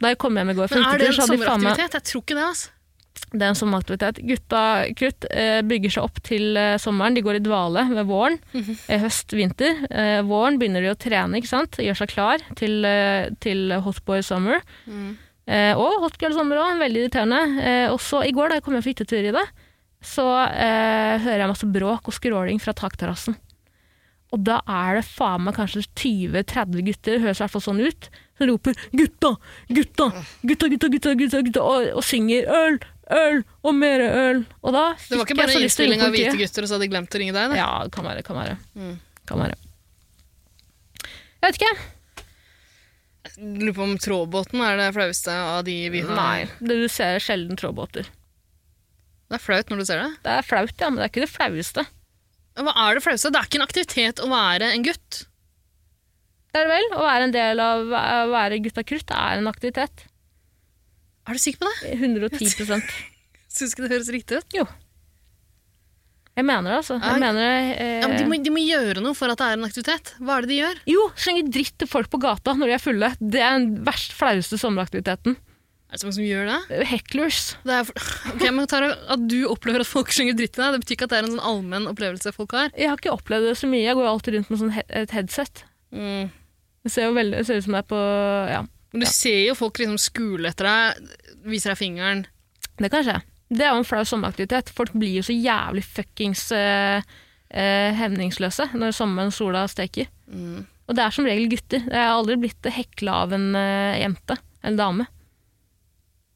Da jeg kom hjem i går fra Men er det utetur, en så hadde de faen meg sommeraktivitet? Jeg tror ikke det. altså. Det er en sommeraktivitet. Gutta krutt eh, bygger seg opp til eh, sommeren. De går i dvale ved våren. eh, høst, vinter. Eh, våren begynner de å trene, ikke sant? gjør seg klar til, eh, til Hotboy Summer. Mm. Eh, og Hotgirl Summer òg, veldig irriterende. Eh, og så i går, da jeg kom hjem fra hyttetur i det, så eh, hører jeg masse bråk og skråling fra takterrassen. Og da er det faen meg kanskje 20-30 gutter, høres i hvert fall sånn ut, som roper 'gutta, gutta, gutta, gutta', gutta, gutta, gutta og, og synger 'øl, øl og mer øl'. Og da Det fikk var ikke jeg bare så lyst til å innspilling ringe av hvite politiet. gutter, og så hadde de glemt å ringe deg? Da. Ja, det kan være. Kan være. Mm. Kan være. Jeg vet ikke. Lurer på om trådbåten er det flaueste av de vi har. Nei. Det du ser er sjelden trådbåter. Det er flaut når du ser det. Det er flaut, ja, men det er ikke det flaueste. Hva er det flaueste? Det er ikke en aktivitet å være en gutt. Det er det vel. Å være en del av å være gutta krutt er en aktivitet. Er du sikker på det? 110 Syns ikke det høres riktig ut. Jo. Jeg mener det, altså. Nei. Jeg mener eh, Ja, men de, må, de må gjøre noe for at det er en aktivitet. Hva er det de gjør? Jo, slenge dritt til folk på gata når de er fulle. Det er den verst flaueste sommeraktiviteten. Er det så mange som gjør det? Hecklers. det er for... [LAUGHS] Ok, men Tara, At du opplever at folk synger dritt i deg, det betyr ikke at det er en sånn allmenn opplevelse folk har. Jeg har ikke opplevd det så mye. Jeg går jo alltid rundt med sånn he et headset. Mm. Det ser jo veldig, det ser ut som det er på Ja, Men du ser jo folk liksom skule etter deg, viser deg fingeren. det kan skje. Det er jo en flau sommeraktivitet. Folk blir jo så jævlig fuckings eh, eh, hevningsløse når sommeren og sola steker. Mm. Og det er som regel gutter. Jeg har aldri blitt hekla av en eh, jente eller dame.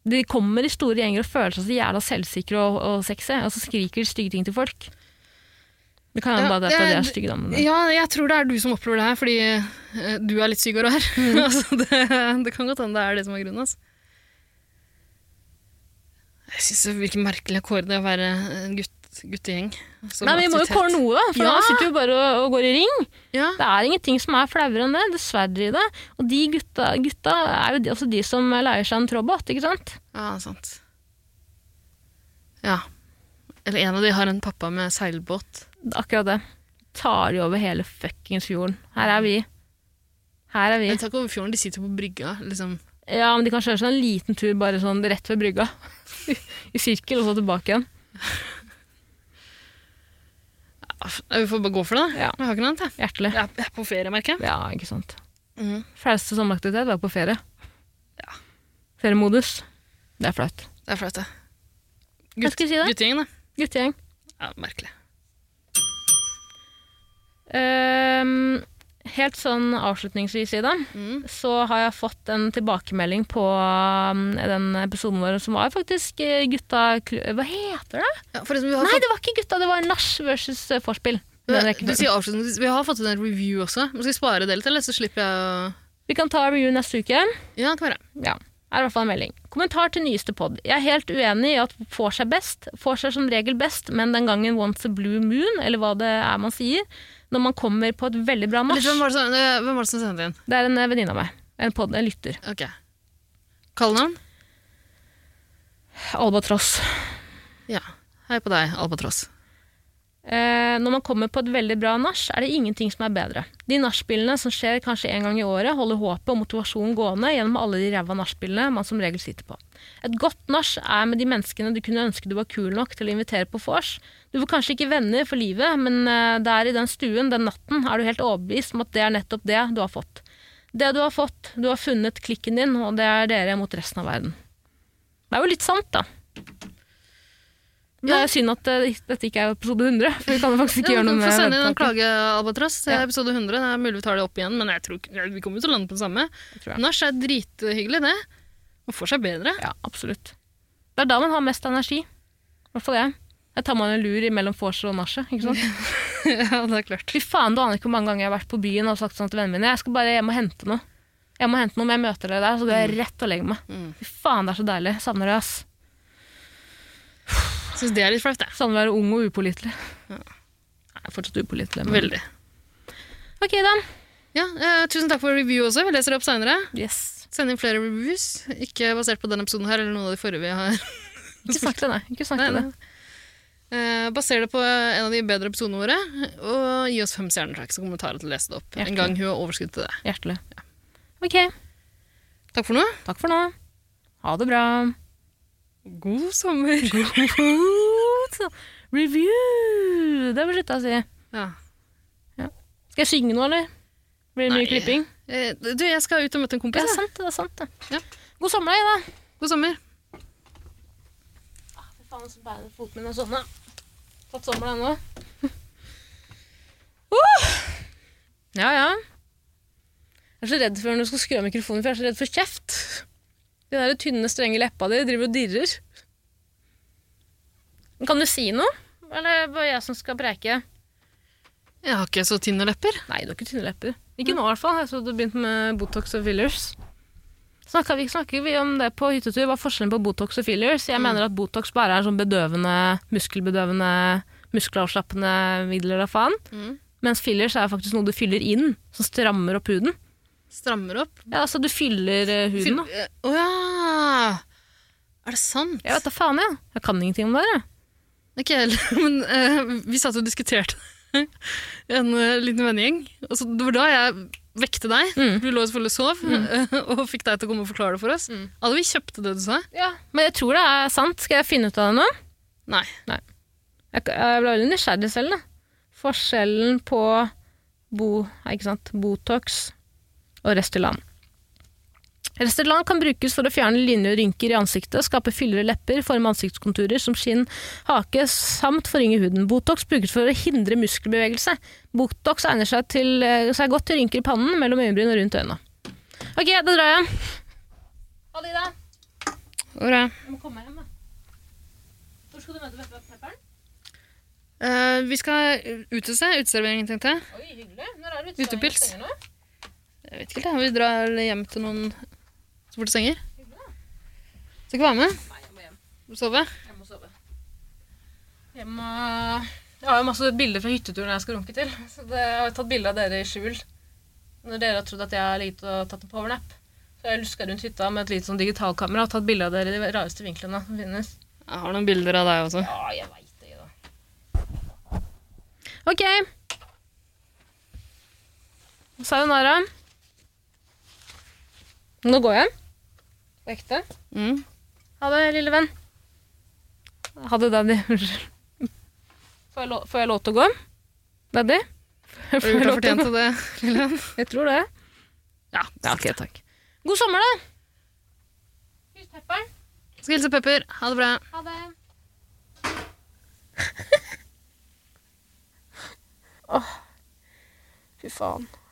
De kommer i store gjenger og føler seg så jævla selvsikre og, og sexy, og så skriker de stygge ting til folk. Det kan hende Ja, bare det er, det- det er styggdommen. Ja, jeg tror det er du som opplever det her, fordi eh, du er litt syk og rar. [LAUGHS] altså, det, det kan godt hende det er det som er grunnen. Altså. Jeg syns det virker merkelig akkord det å være en gutt, guttegjeng. som Nei, men Vi må jo aktivitet. kåre noe, da, for Ja! nå sitter vi jo bare og, og går i ring. Ja. Det er ingenting som er flauere enn det, dessverre. i det. Og de gutta, gutta er jo de, også de som leier seg en tråbåt, ikke sant? ja, sant. Ja. Eller en av de har en pappa med seilbåt. Akkurat det. Tar de over hele fuckings fjorden. Her er vi. Her er vi. Jeg tar ikke over fjorden, de sitter på brygga. liksom. Ja, men de kan kjøre seg en liten tur bare sånn rett ved brygga. [LAUGHS] I sirkel, og så tilbake igjen. Ja, f- Vi får bare gå for det, da. Ja. Jeg har ikke noe annet, jeg. Hjertelig. Jeg er- Jeg er på ferie, merker jeg. Ja, ikke sant. Mm. Flaueste sommeraktivitet var på ferie. Feriemodus. Det er flaut. Det er flaut, det. Hva skal jeg si da? Guttegjeng, da. Guttegjeng. Ja, merkelig. Ehm, helt sånn avslutningsvis i det, Mm. så har jeg fått en tilbakemelding på um, den episoden vår som var faktisk eh, gutta kl- Hva heter det? Ja, forresten, vi har Nei, det var ikke gutta, det var nach versus eh, vorspiel. Den fått, du rekkefølgen. sier avslutningsvis, Vi har fått en review også. Men skal vi spare det litt, eller så slipper jeg å Vi kan ta review neste uke. Ja, det kan være. Ja. Er i hvert fall en melding. Kommentar til nyeste pod. Jeg er helt uenig i at får seg best. Får seg som regel best, men den gangen once a blue moon, eller hva det er man sier, når man kommer på et veldig bra Litt, nach hvem, var det som, eh, hvem var det som sendte inn? Det er en eh, venninne av meg. En, pod, en lytter. Ok. Kallenavn? Albatross. Ja. Hei på deg, albatross. Eh, når man kommer på et veldig bra nach, er det ingenting som er bedre. De nachspillene som skjer kanskje en gang i året, holder håpet og motivasjonen gående gjennom alle de ræva nachspillene man som regel sitter på. Et godt nach er med de menneskene du kunne ønske du var kul nok til å invitere på vors. Du får kanskje ikke venner for livet, men eh, der i den stuen, den natten, er du helt overbevist om at det er nettopp det du har fått. Det du har fått, du har funnet klikken din, og det er dere mot resten av verden. Det er jo litt sant, da. Det er synd at eh, dette ikke er episode 100, for vi kan jo faktisk ikke Ja, gjøre du noe får med sende inn en webtanken. klage, albatross, til Ja. episode 100. Det er mulig vi tar det opp igjen, men jeg tror ikke, ja, vi kommer jo til å lande på det samme. tror jeg. Nach er drithyggelig, det. Man får seg bedre. Ja, absolutt. Det er da man har mest energi. I hvert fall jeg. Jeg tar meg en lur mellom vorset og nachet. ikke [LAUGHS] sant? ja, det er klart. Fy faen, du aner ikke hvor mange ganger jeg har vært på byen og sagt sånn til vennene mine Jeg skal bare hjem og hente noe. Jeg må hente noe, men jeg møter dere der, så går jeg rett og legger meg. Mm. Fy faen, det er så deilig. Savner det, ass. Syns det er litt flaut, det. Savner å være ung og upålitelig. Jeg er fortsatt upålitelig, men Veldig. OK, da. Ja, eh, tusen takk for review også. Vi leser det opp seinere. Yes. Send inn flere reviews, ikke basert på denne episoden her, eller noen av de forrige vi har. [LAUGHS] Ikke snakk til det, nei. Ikke snakk Nei, til det. nei. Eh, baser det på en av de bedre episodene våre, og gi oss fem stjerner, takk, så kommer Tara til å lese det opp. Hjertelig. En gang hun har overskudd til det. Hjertelig. OK. Takk for nå. Takk for nå. Ha det bra. God sommer. God [LAUGHS] review! Det har vi slutta å si. [LAUGHS] Ja. Skal jeg synge nå, eller? Blir det Nei. mye klipping? Eh, Du, jeg skal ut og møte en Det kompis. er jeg. sant, det. er sant det. Ja. God sommer, da, Ida. God sommer. Fy faen, så bærer foten min og sånne. Tatt sommer, den nå. [LAUGHS] Uh! Ja, ja. Jeg er så redd for når du skal skru av mikrofonen, for jeg er så redd for kjeft. De der tynne, strenge leppa di driver og dirrer. Men Kan du si noe? Eller er det bare jeg som skal preike? Jeg har ikke så tynne lepper. Nei, du har ikke tynne lepper. Ikke nå, i hvert fall. Jeg så du begynte med Botox og fillers. Snakker vi, snakker vi om det på hyttetur? Hva er forskjellen på Botox og fillers? Jeg mener at Botox bare er sånn bedøvende, muskelbedøvende, muskelavslappende midler da faen. Mm. Mens fillers er faktisk noe du fyller inn, som strammer opp huden. Strammer opp. Ja, altså du fyller eh, huden, da. Fyll- eh, Å ja! Er det sant? Jeg vet da faen, jeg. Jeg kan ingenting om det her, jeg. Ikke jeg heller, [LAUGHS] men eh, vi satt og diskuterte [LAUGHS] en eh, liten vennegjeng. Og så det var da jeg vekte deg. Mm. Du lå selvfølgelig og sov, eh, [LAUGHS] og fikk deg til å komme og forklare det for oss. Mm. Hadde vi kjøpte det du sa? Men jeg tror det er sant. Skal jeg finne ut av det nå? Nei. Jeg, jeg ble veldig nysgjerrig selv, da. Forskjellen på bo, nei, ikke sant? Botox og Restylane. Restylane kan brukes for å fjerne linjer og rynker i ansiktet, skape fyller i lepper, forme ansiktskonturer som skinn, hake, samt forynge huden. Botox brukes for å hindre muskelbevegelse. Botox egner seg, til, eh, seg godt til rynker i pannen, mellom øyenbryn og rundt øynene. Ok, da drar jeg. Ha det, Ida. Åra. Jeg må komme hjem, da. Hvor skal du møte Veppe Pepperen? Eh, vi skal utese. Uteserveringen, tenkte jeg. Oi, hyggelig. Når er utestengene Utepils. stenger Jeg vet ikke helt, jeg. Vi drar hjem til noen så fort det stenger. Skal ikke være med? Nei, jeg må hjem. Vil du Sove? Jeg må sove. Jeg, må... jeg har jo masse bilder fra hytteturen jeg skal runke til. Så det... Jeg har jo tatt bilde av dere i skjul. Når dere har trodd at jeg har ligget og tatt en powernap. Så har jeg luska rundt hytta med et lite sånn digitalkamera og tatt bilde av dere i de rareste vinklene som finnes. Jeg har noen bilder av deg også. Ja, jeg veit det, da. OK. Sayonara. Nå går jeg. På ekte. Mm. Ha det, lille venn. Ha det, daddy. Unnskyld. Får jeg, lov, får jeg lov til å gå? Daddy? [LAUGHS] Har du gjort lov deg til å fortjent gå? til det, Lillian? Jeg tror det. Ja. ok, takk. God sommer, da. Hils pepperen. Skal hilse Pepper. Ha det bra. Ha [LAUGHS] det. Åh. Fy faen.